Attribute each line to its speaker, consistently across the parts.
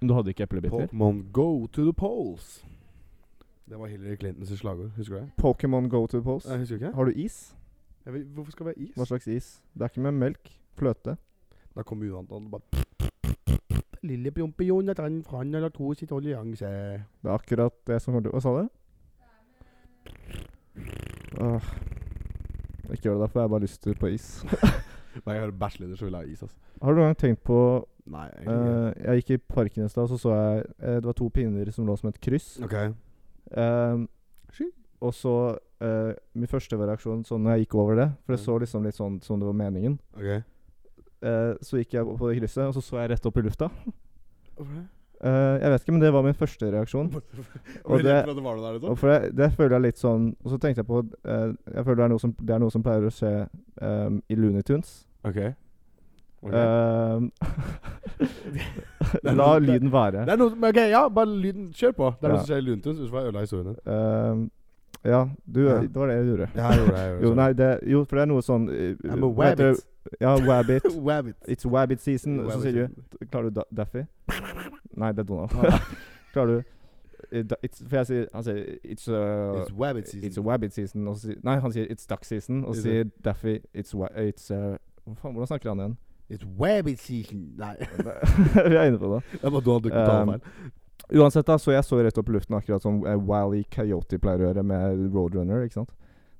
Speaker 1: Men du hadde ikke eplebiter?
Speaker 2: Pokémon go to the polls. Det var Hillary Clintons slagord. Husker du det?
Speaker 1: Pokémon go to the polls.
Speaker 2: Jeg husker du ikke.
Speaker 1: Har du is?
Speaker 2: Jeg vet, hvorfor skal det være is?
Speaker 1: Hva slags is? Det er ikke med melk. Fløte.
Speaker 2: Da kom uantatt og bare Lille pjompion, at han kan eller to sitt allianse.
Speaker 1: Det er akkurat det som kommer til Hva sa du? Åh. Ikke gjør det, da får jeg bare lyst til på is.
Speaker 2: Nei, jeg hører bachelor, så vil jeg ha is, altså.
Speaker 1: Har du noen gang tenkt på
Speaker 2: Nei, egentlig
Speaker 1: eh, Jeg gikk i parken i stad, så så jeg eh, Det var to pinner som lå som et kryss.
Speaker 2: ikke. Ok.
Speaker 1: Ehm,
Speaker 2: Sky.
Speaker 1: og så eh, Min første reaksjon sånn når jeg gikk over det, for det
Speaker 2: Mm.
Speaker 1: så liksom litt sånn som det var meningen,
Speaker 2: Ok.
Speaker 1: Eh, så gikk jeg på det krysset, og så så jeg rett opp i lufta.
Speaker 2: Hvorfor det?
Speaker 1: Eh, jeg vet ikke, men det var min første reaksjon.
Speaker 2: Ble
Speaker 1: Og
Speaker 2: du
Speaker 1: det,
Speaker 2: redd for at det var noe
Speaker 1: og
Speaker 2: der, liksom?
Speaker 1: for det, det føler jeg litt sånn Og så tenkte jeg på eh, Jeg føler det er noe som, det er noe som pleier å skje um, i Looney Tunes.
Speaker 2: Ok. Eh.
Speaker 1: Um, la
Speaker 2: er noe-
Speaker 1: lyden være.
Speaker 2: Det er noe som Ok, ja, bare lyden. Kjør på. Det er
Speaker 1: Ja.
Speaker 2: noe som skjer i Luntus, hvis du får ødela historien din.
Speaker 1: Um, ja, du,
Speaker 2: Ja.
Speaker 1: det var det jeg gjorde.
Speaker 2: Ja, jeg gjorde det. Jeg gjorde
Speaker 1: Jo, nei, det, jo, for det er noe sånn eh,
Speaker 2: I'm a
Speaker 1: hva heter
Speaker 2: wabbit.
Speaker 1: det? Ja, wabbit.
Speaker 2: Wabbit.
Speaker 1: It's wabbit season. Og så sier
Speaker 2: Wabbit.
Speaker 1: du Klarer du da Daffy? Nei, det er Donald.
Speaker 2: Ah,
Speaker 1: Klarer du eh, da- it's, For jeg sier Han sier It's uh,
Speaker 2: It's wabbit
Speaker 1: It's
Speaker 2: season.
Speaker 1: wabbit season. Og så sier Nei, han sier it's duck season. Og
Speaker 2: Is
Speaker 1: så sier Daffy It's wa it's, uh, hva faen, Hvordan snakker han igjen?
Speaker 2: It's wabbit season. Nei.
Speaker 1: Vi er inne på det.
Speaker 2: Det var da du ikke
Speaker 1: Um,
Speaker 2: talte feil.
Speaker 1: Uansett, da, så jeg så rett opp i luften, akkurat som eh, Wile E. Coyote pleier å gjøre med Roadrunner. ikke sant?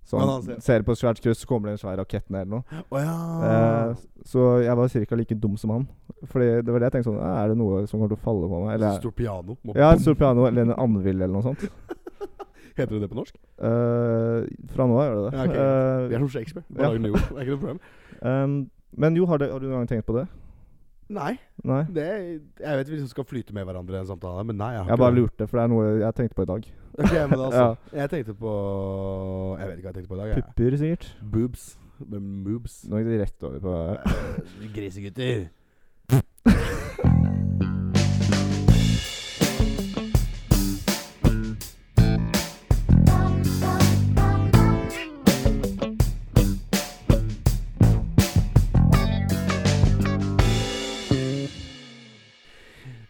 Speaker 1: Så
Speaker 2: Men
Speaker 1: han,
Speaker 2: han ser-
Speaker 1: ser på et svært kryss, så kommer det en svær rakett ned eller noe.
Speaker 2: Å ja.
Speaker 1: Eh, så jeg var ca. like dum som han. Fordi det var det jeg tenkte sånn «Ah, Er det noe som kommer til å falle på meg? Eller
Speaker 2: Stort piano. Må-
Speaker 1: Ja, et stort piano eller en anvil eller noe sånt.
Speaker 2: Heter det det på norsk?
Speaker 1: Eh, fra nå av gjør det det.
Speaker 2: Ja, ok,
Speaker 1: Eh,
Speaker 2: Vi er som Shakespeare.
Speaker 1: Ja.
Speaker 2: Bare lager nye ord. Det er ikke noe problem.
Speaker 1: ehm, men jo, har, det, har du noen gang tenkt på det?
Speaker 2: Nei.
Speaker 1: Nei?
Speaker 2: Det, jeg vet vi liksom skal flyte med hverandre i en samtale, men nei. Jeg har
Speaker 1: Jeg bare
Speaker 2: ikke det.
Speaker 1: lurte, for det er noe jeg tenkte på i dag.
Speaker 2: Ok, men altså. Jeg tenkte på Jeg vet ikke hva jeg tenkte på i dag. Jeg.
Speaker 1: Pupper, sikkert.
Speaker 2: Boobs. Men moobs.
Speaker 1: Nå gikk det rett over på
Speaker 2: Eh, Grisegutter.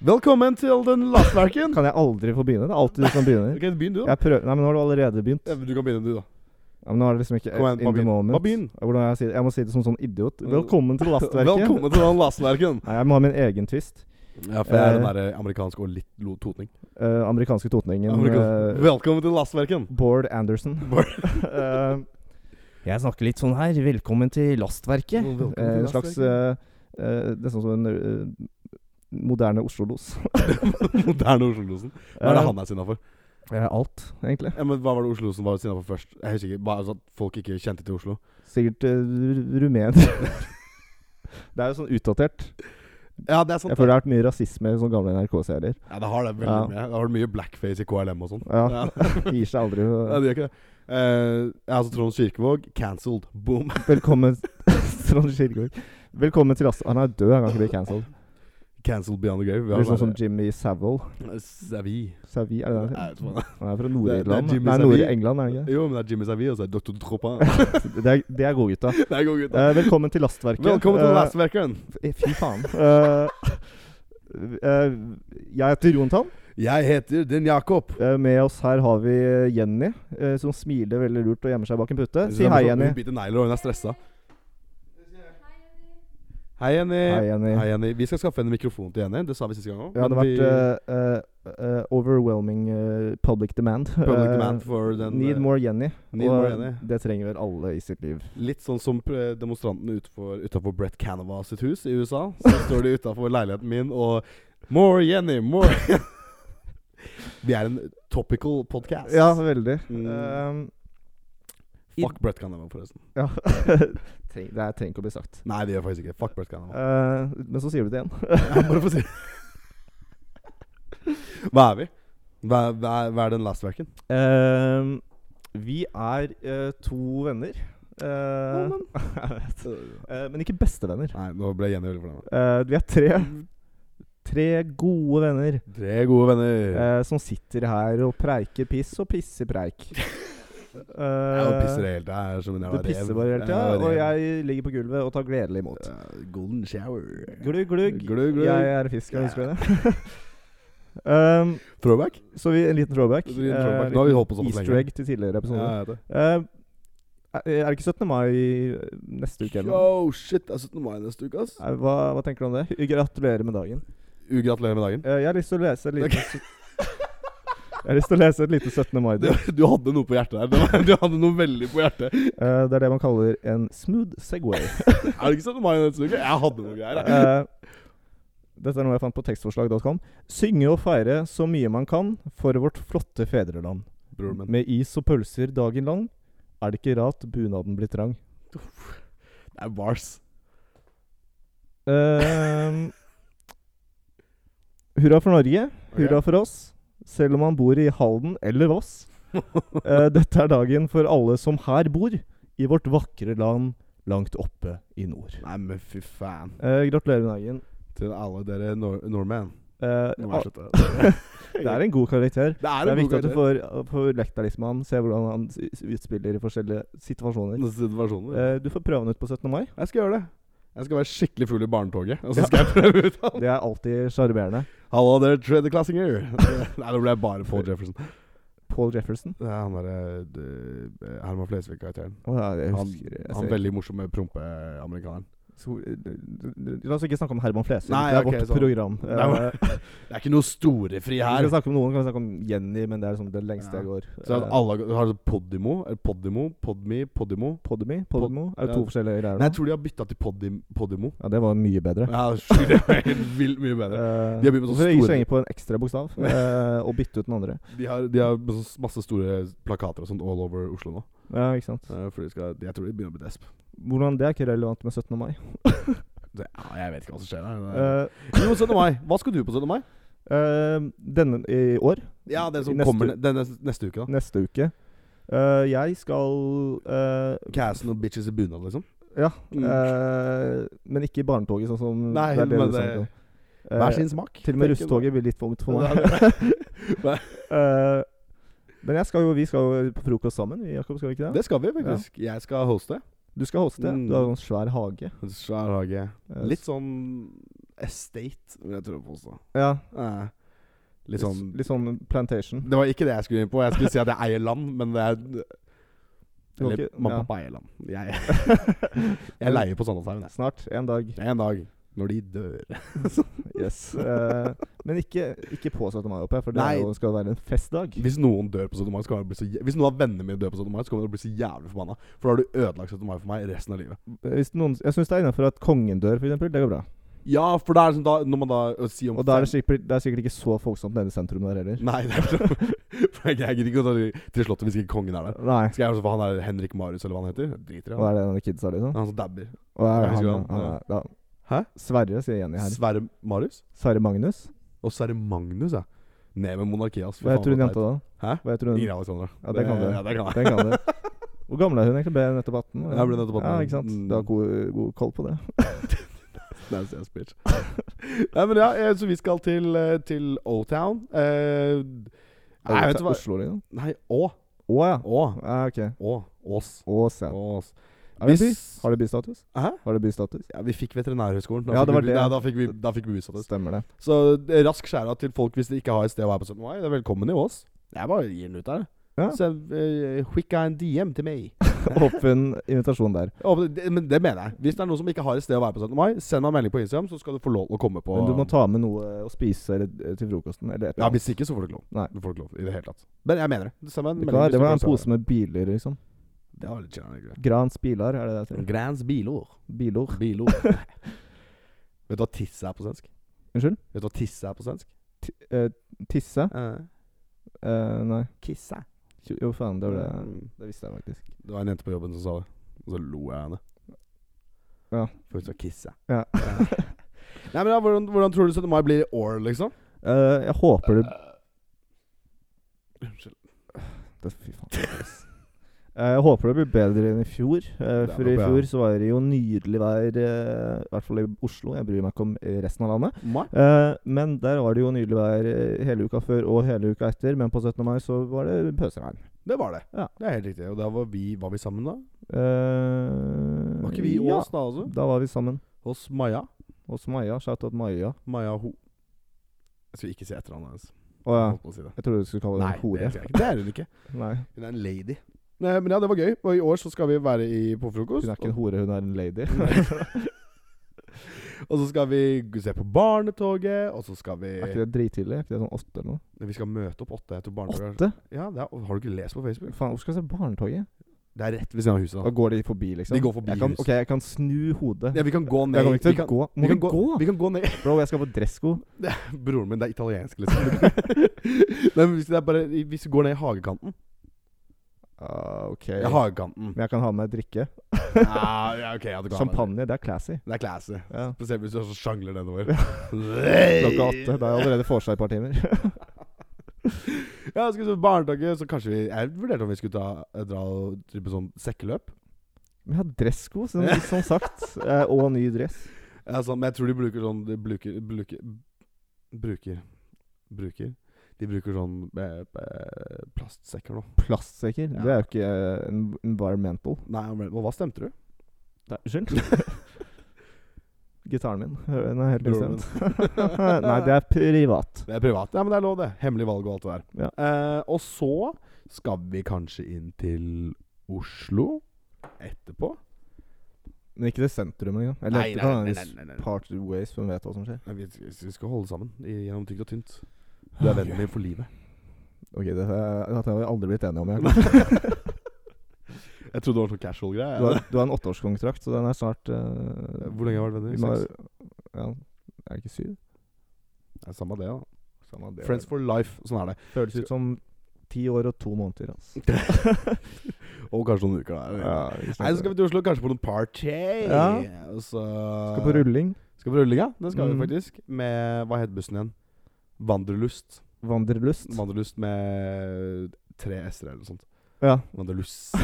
Speaker 2: Velkommen til den lastverken.
Speaker 1: Kan jeg aldri få begynne? Det er alltid du som begynner.
Speaker 2: Ok, begynn du, da.
Speaker 1: Jeg prøver Nei, men nå har du allerede begynt.
Speaker 2: Ja, men Du kan begynne, du, da.
Speaker 1: Ja, men nå er det liksom ikke
Speaker 2: Kom igjen,
Speaker 1: Eh, in
Speaker 2: bare
Speaker 1: the
Speaker 2: begynn.
Speaker 1: moment.
Speaker 2: Bare begynn.
Speaker 1: Hvordan jeg, sier, det? jeg må si det som sånn idiot. Velkommen til lastverket.
Speaker 2: Velkommen til den lastverken.
Speaker 1: Nei, jeg må ha min egen twist.
Speaker 2: Ja, for jeg er den
Speaker 1: Eh.
Speaker 2: derre amerikanske og litt lo- totning.
Speaker 1: Eh, amerikanske totningen
Speaker 2: Amerikan-
Speaker 1: eh,
Speaker 2: Velkommen til lastverken.
Speaker 1: Bård Anderson.
Speaker 2: Bård.
Speaker 1: Eh, jeg snakker litt sånn her. Velkommen til Lastverket.
Speaker 2: Velkommen til
Speaker 1: Eh, en slags uh, Nesten som en eh, moderne Oslo-los.
Speaker 2: Moderne Oslo-losen. Hva er det han er sinna for?
Speaker 1: Eh, alt, egentlig.
Speaker 2: Ja, men Hva var det Oslo-losen var sinna for først? Jeg husker ikke. Bare altså at folk ikke kjente til Oslo.
Speaker 1: Sikkert eh, ru- rumener. det er jo sånn utdatert.
Speaker 2: Ja, det er sant.
Speaker 1: Jeg føler det har vært mye rasisme i sånne gamle NRK-serier.
Speaker 2: Ja, det har det veldig
Speaker 1: Ja.
Speaker 2: mye. Det har vært mye blackface i KLM og sånn.
Speaker 1: Ja, Gir seg aldri.
Speaker 2: ja, det gjør ikke det. Eh, ja, altså Trond Kirkevåg, cancelled. Boom.
Speaker 1: Velkommen Trond Kirkegård. Velkommen til Lasse Han er død, han kan ikke bli cancelled.
Speaker 2: Cancelled beyond the grave. Vi
Speaker 1: Det
Speaker 2: har
Speaker 1: blir sånn som
Speaker 2: bare-
Speaker 1: Jimmy Savile.
Speaker 2: Savi.
Speaker 1: Savile, er det det?
Speaker 2: Jeg vet ikke hva det er.
Speaker 1: Han er fra
Speaker 2: Det-
Speaker 1: Nord-Irland.
Speaker 2: det er Jimmy
Speaker 1: Nei,
Speaker 2: Savile.
Speaker 1: Nord-England, er han ikke?
Speaker 2: Jo, men det er Jimmy Savi, og så er det Dr. Troppa.
Speaker 1: det? Det er, det er gode gutta.
Speaker 2: det er gode gutter.
Speaker 1: Eh, velkommen til Lastverket.
Speaker 2: Velkommen til
Speaker 1: Eh,
Speaker 2: Lastverkeren.
Speaker 1: f- Fy faen. Eh, eh, jeg heter Jon Tann.
Speaker 2: Jeg heter Den Jakob.
Speaker 1: Eh, med oss her har vi Jenny, eh, som smiler veldig lurt og gjemmer seg bak en pute. Si hei, Jenny.
Speaker 2: Hun biter negler, og hun er stressa. Hei, Jenny.
Speaker 1: Hei, Jenny.
Speaker 2: Hei, Jenny. Vi skal skaffe en mikrofon til Jenny. Det sa vi siste gang òg.
Speaker 1: Det hadde vært eh, eh, eh, overwhelming eh, public demand.
Speaker 2: Public
Speaker 1: Eh,
Speaker 2: demand for den
Speaker 1: Need
Speaker 2: eh,
Speaker 1: more Jenny.
Speaker 2: Need
Speaker 1: og
Speaker 2: more Jenny.
Speaker 1: det trenger vel alle i sitt liv.
Speaker 2: Litt sånn som eh, demonstrantene utenfor, utenfor Brett Canova sitt hus i USA. Så står de utenfor leiligheten min og More Jenny, more Vi er en topical podcast.
Speaker 1: Ja, veldig.
Speaker 2: Mm.
Speaker 1: Ehm,
Speaker 2: Fuck Brett Canova, forresten.
Speaker 1: ja. Treng, det er, trenger ikke å bli sagt.
Speaker 2: Nei, det gjør jeg faktisk ikke. Fuck Brett Canova.
Speaker 1: Eh, men så sier du det igjen.
Speaker 2: Jeg må bare få si Hva er vi? Hva, hva, er- hva er den lastverken?
Speaker 1: Ehm, vi er eh, to venner. Eh, jeg vet. Eh, men ikke bestevenner.
Speaker 2: Nei, nå ble Jenny veldig fornærma.
Speaker 1: Eh, vi er tre Tre gode venner
Speaker 2: Tre gode venner.
Speaker 1: eh, som sitter her og preiker piss og pisser preik.
Speaker 2: jeg
Speaker 1: Uh,
Speaker 2: pisser helt jeg er som en jævla
Speaker 1: det
Speaker 2: rev.
Speaker 1: pisser bare hele tida,
Speaker 2: Jeg er
Speaker 1: og
Speaker 2: rev.
Speaker 1: jeg ligger på gulvet og tar gledelig imot.
Speaker 2: Ja, Golden shower.
Speaker 1: Glugg, glugg.
Speaker 2: Glugg, glugg.
Speaker 1: Jeg er fisk, jeg husker det. Um,
Speaker 2: Throwback?
Speaker 1: så vi, en liten throwback.
Speaker 2: En liten
Speaker 1: Eh,
Speaker 2: throwback. Nå har vi holdt på sånn
Speaker 1: Easter
Speaker 2: lenge.
Speaker 1: egg til tidligere
Speaker 2: Ja,
Speaker 1: episoder.
Speaker 2: jeg vet det.
Speaker 1: Eh, er er det ikke 17. mai neste uke? Eller? noe?
Speaker 2: Oh shit, det er 17. mai neste uke, ass.
Speaker 1: Eh, Hva, hva tenker du om det? Gratulerer med dagen.
Speaker 2: Gratulerer med dagen.
Speaker 1: Eh, jeg har lyst til å lese et lite Jeg har lyst til å lese et lite 17.
Speaker 2: Du,
Speaker 1: mai-dikt.
Speaker 2: du hadde noe på hjertet der. Det var- Du hadde noe veldig på hjertet.
Speaker 1: Eh, det er det man kaller en smooth Segway.
Speaker 2: Er det ikke 17. mai neste uke? Jeg hadde noe greier. jeg.
Speaker 1: Eh, dette er noe jeg fant på tekstforslag.com. Synge og feire så mye man kan for vårt flotte fedreland.
Speaker 2: Broren min.
Speaker 1: Med is og pølser dagen lang er det ikke rart bunaden blir trang.
Speaker 2: Det er bars.
Speaker 1: Ehm, hurra for Norge. Hurra for oss. Selv om man bor i Halden eller Voss. Eh, dette er dagen for alle som her bor, i vårt vakre land langt oppe i nord.
Speaker 2: Nei, men fy faen.
Speaker 1: Eh, gratulerer med dagen.
Speaker 2: Til alle dere nor nordmenn.
Speaker 1: Eh,
Speaker 2: Nå må
Speaker 1: ah,
Speaker 2: jeg slutte.
Speaker 1: det er en god karakter.
Speaker 2: Det er
Speaker 1: det er
Speaker 2: en
Speaker 1: viktig
Speaker 2: god
Speaker 1: at du
Speaker 2: karakter.
Speaker 1: får, får lekt deg litt med han, se hvordan han s- s- utspiller i forskjellige situasjoner.
Speaker 2: Neste situasjoner.
Speaker 1: Eh, du får prøve han ut på 17. mai.
Speaker 2: Jeg skal gjøre det. Jeg skal være skikkelig full i barnetoget, og så skal jeg prøve ut han.
Speaker 1: Det er alltid sjarmerende.
Speaker 2: Hallo, dere tredjeklassinger. Nei, nå ble jeg bare Paul Jefferson.
Speaker 1: Paul Jefferson.
Speaker 2: Det er han derre d- Herman Flesvig-karakteren.
Speaker 1: Å, ja, jeg
Speaker 2: Han,
Speaker 1: husker- jeg
Speaker 2: han
Speaker 1: ser-
Speaker 2: veldig morsomme prompeamerikaneren.
Speaker 1: Så, eh, eh, La oss ikke snakke om Herman Flesvig.
Speaker 2: Nei,
Speaker 1: det er
Speaker 2: ok,
Speaker 1: vårt
Speaker 2: sånn.
Speaker 1: program.
Speaker 2: Det er-
Speaker 1: Eh,
Speaker 2: Det er ikke noe storefri
Speaker 1: vi
Speaker 2: her.
Speaker 1: skal snakke om noen, kan vi snakke om Jenny, men det er liksom det lengste
Speaker 2: Ja.
Speaker 1: jeg går.
Speaker 2: Så at
Speaker 1: Eh,
Speaker 2: alle har- har Podimo, eller Podimo, Podme, Podimo.
Speaker 1: Podmy, Podmo Er det to
Speaker 2: Ja.
Speaker 1: forskjellige greier
Speaker 2: Nei,
Speaker 1: nå?
Speaker 2: jeg tror de har bytta til Podim, Podimo.
Speaker 1: Ja, det var mye bedre.
Speaker 2: Ja, sjukt, det var helt vilt mye bedre.
Speaker 1: Eh,
Speaker 2: De har begynt med sånne
Speaker 1: hvorfor ikke
Speaker 2: store-
Speaker 1: slenge på en ekstra bokstav eh, og bytte ut den andre?
Speaker 2: De har, de har sånn masse store plakater og sånt all over Oslo nå.
Speaker 1: Ja, ikke sant?
Speaker 2: Eh, For de skal, jeg tror de begynner å bli desp.
Speaker 1: Hvordan det er ikke relevant med 17. mai.
Speaker 2: Det, ja, jeg vet ikke hva som skjer der.
Speaker 1: Eh,
Speaker 2: Jo, 17. mai. Hva skal du på 17. mai?
Speaker 1: eh, denne i år,
Speaker 2: Ja, det som
Speaker 1: Neste
Speaker 2: kommer
Speaker 1: uke.
Speaker 2: ne- den neste, neste uke, da.
Speaker 1: neste uke eh, Jeg skal eh,
Speaker 2: Cassen og bitches i bunad, liksom.
Speaker 1: Ja.
Speaker 2: Mm.
Speaker 1: eh, men ikke i barnetoget, sånn som
Speaker 2: Nei,
Speaker 1: det er det
Speaker 2: men
Speaker 1: du
Speaker 2: det-
Speaker 1: snakker om. Eh,
Speaker 2: Hver sin smak.
Speaker 1: Til og med
Speaker 2: tenker jeg
Speaker 1: russtoget blir litt for ungt for
Speaker 2: Ja,
Speaker 1: meg.
Speaker 2: Nei.
Speaker 1: Eh, men jeg skal jo, vi skal jo på frokost sammen, vi, Jakob, skal vi ikke
Speaker 2: nå.
Speaker 1: det?
Speaker 2: Det skal vi, faktisk. Jeg skal hoste.
Speaker 1: Du skal hoste.
Speaker 2: Mm.
Speaker 1: Du har jo en svær hage.
Speaker 2: Svær hage.
Speaker 1: Eh,
Speaker 2: Litt sånn estate, vil jeg tro på også.
Speaker 1: Ja,
Speaker 2: Eh, Litt sånn
Speaker 1: litt sånn plantation.
Speaker 2: Det var ikke det jeg skulle inn på. Jeg skulle si at jeg eier land, men det er
Speaker 1: Du har
Speaker 2: Eller
Speaker 1: ikke-
Speaker 2: mamma
Speaker 1: ja.
Speaker 2: og pappa eier land. Jeg, jeg leier på Sandalshaugen, jeg.
Speaker 1: Snart. En dag.
Speaker 2: En dag når de dør.
Speaker 1: Yes. Eh, men ikke, ikke på 17. mai oppe, for det
Speaker 2: Nei.
Speaker 1: er jo, skal jo være en festdag.
Speaker 2: Hvis noen dør på 17. mai, så kommer jeg til å bli så jæ- Hvis noen av vennene mine dør på 17. mai, så kommer jeg til å bli så jævlig forbanna. For da har du ødelagt 17. mai for meg resten av livet.
Speaker 1: Hvis noen, jeg syns det er innafor at kongen dør, f.eks. Det går bra.
Speaker 2: Ja, for da er det sånn da Når man da å si om
Speaker 1: Og da er det
Speaker 2: fem-
Speaker 1: sikkert, det er sikkert ikke så folksomt nede i sentrum der heller.
Speaker 2: Nei, det er sånn For jeg gidder ikke å ta til- til slottet hvis ikke kongen er der.
Speaker 1: Nei.
Speaker 2: Skal jeg også få han der Henrik Marius, eller hva han heter? Jeg Driter i
Speaker 1: Hva
Speaker 2: han.
Speaker 1: er det denne kidsa, liksom?
Speaker 2: Han som dabber.
Speaker 1: Og er,
Speaker 2: Jeg
Speaker 1: han,
Speaker 2: husker
Speaker 1: han,
Speaker 2: han, ja.
Speaker 1: er, da.
Speaker 2: Hæ?
Speaker 1: Sverre, sier Jenny her.
Speaker 2: Sverre Marius?
Speaker 1: Sverre Magnus?
Speaker 2: Og Sverre Magnus, ja. Ned med monarkiet, ass. Fy
Speaker 1: Hva
Speaker 2: faen,
Speaker 1: heter hun
Speaker 2: så teit.
Speaker 1: jenta da?
Speaker 2: Hæ?
Speaker 1: Hva heter hun?
Speaker 2: Ingrid Alexandra.
Speaker 1: Ja, det kan du.
Speaker 2: Ja, det kan jeg.
Speaker 1: Den kan du. Hvor gammel er hun egentlig? Ble hun nettopp 18? eller?
Speaker 2: Ja, ble nettopp 18,
Speaker 1: Ja,
Speaker 2: ja.
Speaker 1: ikke sant?
Speaker 2: Mm.
Speaker 1: Du har god, god koll på det.
Speaker 2: Nei, så jeg spiller. Nei, men ja, eh, så vi skal til, eh, til O-Town. Eh, Nei,
Speaker 1: Er
Speaker 2: vet
Speaker 1: det
Speaker 2: du hva
Speaker 1: Oslo, liksom?
Speaker 2: Nei, Å.
Speaker 1: Å ja.
Speaker 2: Å.
Speaker 1: ja. Ok.
Speaker 2: Å. Ås.
Speaker 1: Ås, ja.
Speaker 2: Ås.
Speaker 1: Er det en by?
Speaker 2: Hvis-
Speaker 1: Har det bystatus?
Speaker 2: Hæ?
Speaker 1: Har det bystatus?
Speaker 2: Ja, vi fikk Veterinærhøgskolen. Da
Speaker 1: Ja,
Speaker 2: fikk
Speaker 1: det var
Speaker 2: vi-
Speaker 1: det.
Speaker 2: Ja, da fikk vi, da fikk vi utsatt det.
Speaker 1: Stemmer det.
Speaker 2: Så det er rask skjæra til folk hvis de ikke har et sted å være på 17. mai. Det er velkommen i Ås. Jeg bare gir den ut der.
Speaker 1: Ja.
Speaker 2: Så uh, en DM til meg.
Speaker 1: Åpen invitasjon der.
Speaker 2: Ja, men det, men det mener jeg. Hvis det er noen som ikke har et sted å være på 17. mai, send meg en melding på Instagram, så skal du få lov til å komme på.
Speaker 1: Men du må ta med noe eh, å spise eller, til frokosten. Eller et
Speaker 2: Ja,
Speaker 1: eller annet.
Speaker 2: Hvis ikke, så får du ikke lov.
Speaker 1: Nei.
Speaker 2: Du får ikke lov i det hele tatt. Men jeg mener det. Send meg en
Speaker 1: Det,
Speaker 2: melding.
Speaker 1: var,
Speaker 2: hvis
Speaker 1: det
Speaker 2: du
Speaker 1: var
Speaker 2: kan
Speaker 1: en
Speaker 2: svare.
Speaker 1: pose med biler, liksom.
Speaker 2: Det var litt kjærlig, greier.
Speaker 1: Grans bilar, er det det heter?
Speaker 2: Grans bilord.
Speaker 1: Bilor.
Speaker 2: Bilord. Vet du hva tisse er på svensk?
Speaker 1: Unnskyld?
Speaker 2: Vet du hva tisse er på svensk?
Speaker 1: Ti- eh, tisse? Eh, nei.
Speaker 2: kissa.
Speaker 1: Jo, faen, det
Speaker 2: Det
Speaker 1: var
Speaker 2: var,
Speaker 1: det. Det visste jeg faktisk.
Speaker 2: en jente på jobben som sa det, og så lo jeg av henne.
Speaker 1: Ja.
Speaker 2: For hun sa kisse.
Speaker 1: Ja.
Speaker 2: Nei, men ja, hvordan, hvordan tror du 17. mai blir i år, liksom?
Speaker 1: Eh, jeg håper det
Speaker 2: Unnskyld.
Speaker 1: det, Fy faen. ass. Eh, Jeg håper det blir bedre enn i fjor. eh,
Speaker 2: Det er
Speaker 1: For
Speaker 2: nok
Speaker 1: i
Speaker 2: bra.
Speaker 1: fjor så var det jo nydelig vær, eh, i hvert fall i Oslo. Jeg bryr meg ikke om eh, resten av landet.
Speaker 2: Mai?
Speaker 1: Eh, Men der var det jo nydelig vær eh, hele uka før og hele uka etter. Men på 17. mai så var det pøsregn.
Speaker 2: Det var det.
Speaker 1: Ja.
Speaker 2: Det er helt riktig. Og da var vi, var vi sammen, da?
Speaker 1: Eh,
Speaker 2: Var ikke vi i
Speaker 1: ja.
Speaker 2: Ås, da også?
Speaker 1: Da var vi sammen.
Speaker 2: Hos Maja.
Speaker 1: Hos Maja. Shout out Maja.
Speaker 2: Maja Ho. Jeg skulle ikke si etternavnet hennes.
Speaker 1: Å ja.
Speaker 2: Holdt på å si det.
Speaker 1: Jeg trodde du skulle kalle det
Speaker 2: Nei,
Speaker 1: en
Speaker 2: det,
Speaker 1: hore.
Speaker 2: skal jeg ikke. det er hun ikke.
Speaker 1: Nei,
Speaker 2: Hun er en lady. Nei, men ja, det var gøy. Og i år så skal vi være i på frokost.
Speaker 1: Hun er ikke en hore, hun er en lady.
Speaker 2: Og så skal vi se på Barnetoget, og så skal vi
Speaker 1: Er ikke det drittidlig? Er ikke det sånn åtte eller noe?
Speaker 2: Nei, Vi skal møte opp åtte. Jeg tror barnetoget
Speaker 1: Åtte?
Speaker 2: Ja, det er, Har du ikke lest på Facebook?
Speaker 1: Faen, hvor skal jeg se Barnetoget?
Speaker 2: Det er rett ved siden av huset.
Speaker 1: Da
Speaker 2: Da.
Speaker 1: går de forbi, liksom?
Speaker 2: De går forbi
Speaker 1: jeg kan,
Speaker 2: huset.
Speaker 1: Ok, jeg kan snu hodet.
Speaker 2: Ja, vi kan gå ned.
Speaker 1: jeg kommer ikke
Speaker 2: vi
Speaker 1: til
Speaker 2: kan,
Speaker 1: å gå. Må
Speaker 2: vi
Speaker 1: vi
Speaker 2: kan gå,
Speaker 1: gå?
Speaker 2: vi kan gå ned
Speaker 1: Bro, jeg skal på Dressko.
Speaker 2: Broren min, det er italiensk, liksom. Nei, men hvis, det er bare, hvis vi går ned i hagekanten
Speaker 1: Ah, ok.
Speaker 2: Ja, hagekanten.
Speaker 1: Men jeg kan ha med meg drikke.
Speaker 2: Ja, ja, ok, ja, du kan ha med det.
Speaker 1: Champagne, det er classy.
Speaker 2: Det er classy.
Speaker 1: Ja.
Speaker 2: Spesielt hvis du også sjangler nedover.
Speaker 1: Klokka åtte. Da er jeg allerede vorsa i et par timer.
Speaker 2: Ja, skal vi se barnetoget, så kanskje vi Jeg vurderte om vi skulle ta, dra og drive sånn sekkeløp.
Speaker 1: Vi har Dressko, som, som sagt. eh, Og ny dress.
Speaker 2: Ja, sånn, men jeg tror de bruker sånn De bruker Bruker Bruker, bruker. De bruker sånn eh, eh, plastsekker nå.
Speaker 1: Plastsekker. Det er jo ikke eh, en- environmental.
Speaker 2: Nei, men hva stemte du?
Speaker 1: Nei, Unnskyld? Gitaren min. Hører Den er helt
Speaker 2: Broren
Speaker 1: bestemt. Nei, det er privat.
Speaker 2: Det er privat. Ja, men det er lov, det. Hemmelig valg og alt det der. Eh, og så skal vi kanskje inn til Oslo etterpå.
Speaker 1: Men ikke til sentrum engang. Eller nei, nei, nei, Part ways, for hun vet hva som skjer.
Speaker 2: Nei, Vi, vi skal holde sammen i, gjennom tykt og tynt. Du er vennen min for livet.
Speaker 1: Ok, Dette, dette har vi aldri blitt enige om.
Speaker 2: jeg
Speaker 1: Jakob.
Speaker 2: trodde det var sånn casual
Speaker 1: Du,
Speaker 2: greie.
Speaker 1: har, du har en åtteårskontrakt, så den er snart eh,
Speaker 2: Hvor lenge har vi vært
Speaker 1: den
Speaker 2: venner?
Speaker 1: har-
Speaker 2: Seks?
Speaker 1: Ja, er det ikke syv?
Speaker 2: Det er Samme det, da.
Speaker 1: Samme det.
Speaker 2: Friends for life. Sånn er det.
Speaker 1: føles ut som ti år og to måneder. Altså.
Speaker 2: Og kanskje noen uker, da.
Speaker 1: Ja, vi
Speaker 2: Nei, så skal vi til Oslo, kanskje på noen party.
Speaker 1: Ja.
Speaker 2: Og så
Speaker 1: Skal på rulling.
Speaker 2: Skal på rulling, ja. Det skal
Speaker 1: Mm.
Speaker 2: vi faktisk. Med Hva het bussen igjen? Vandrelust.
Speaker 1: Vandrelyst.
Speaker 2: Vandrelust med tre s-er eller noe sånt.
Speaker 1: Ja,
Speaker 2: Vandrelust.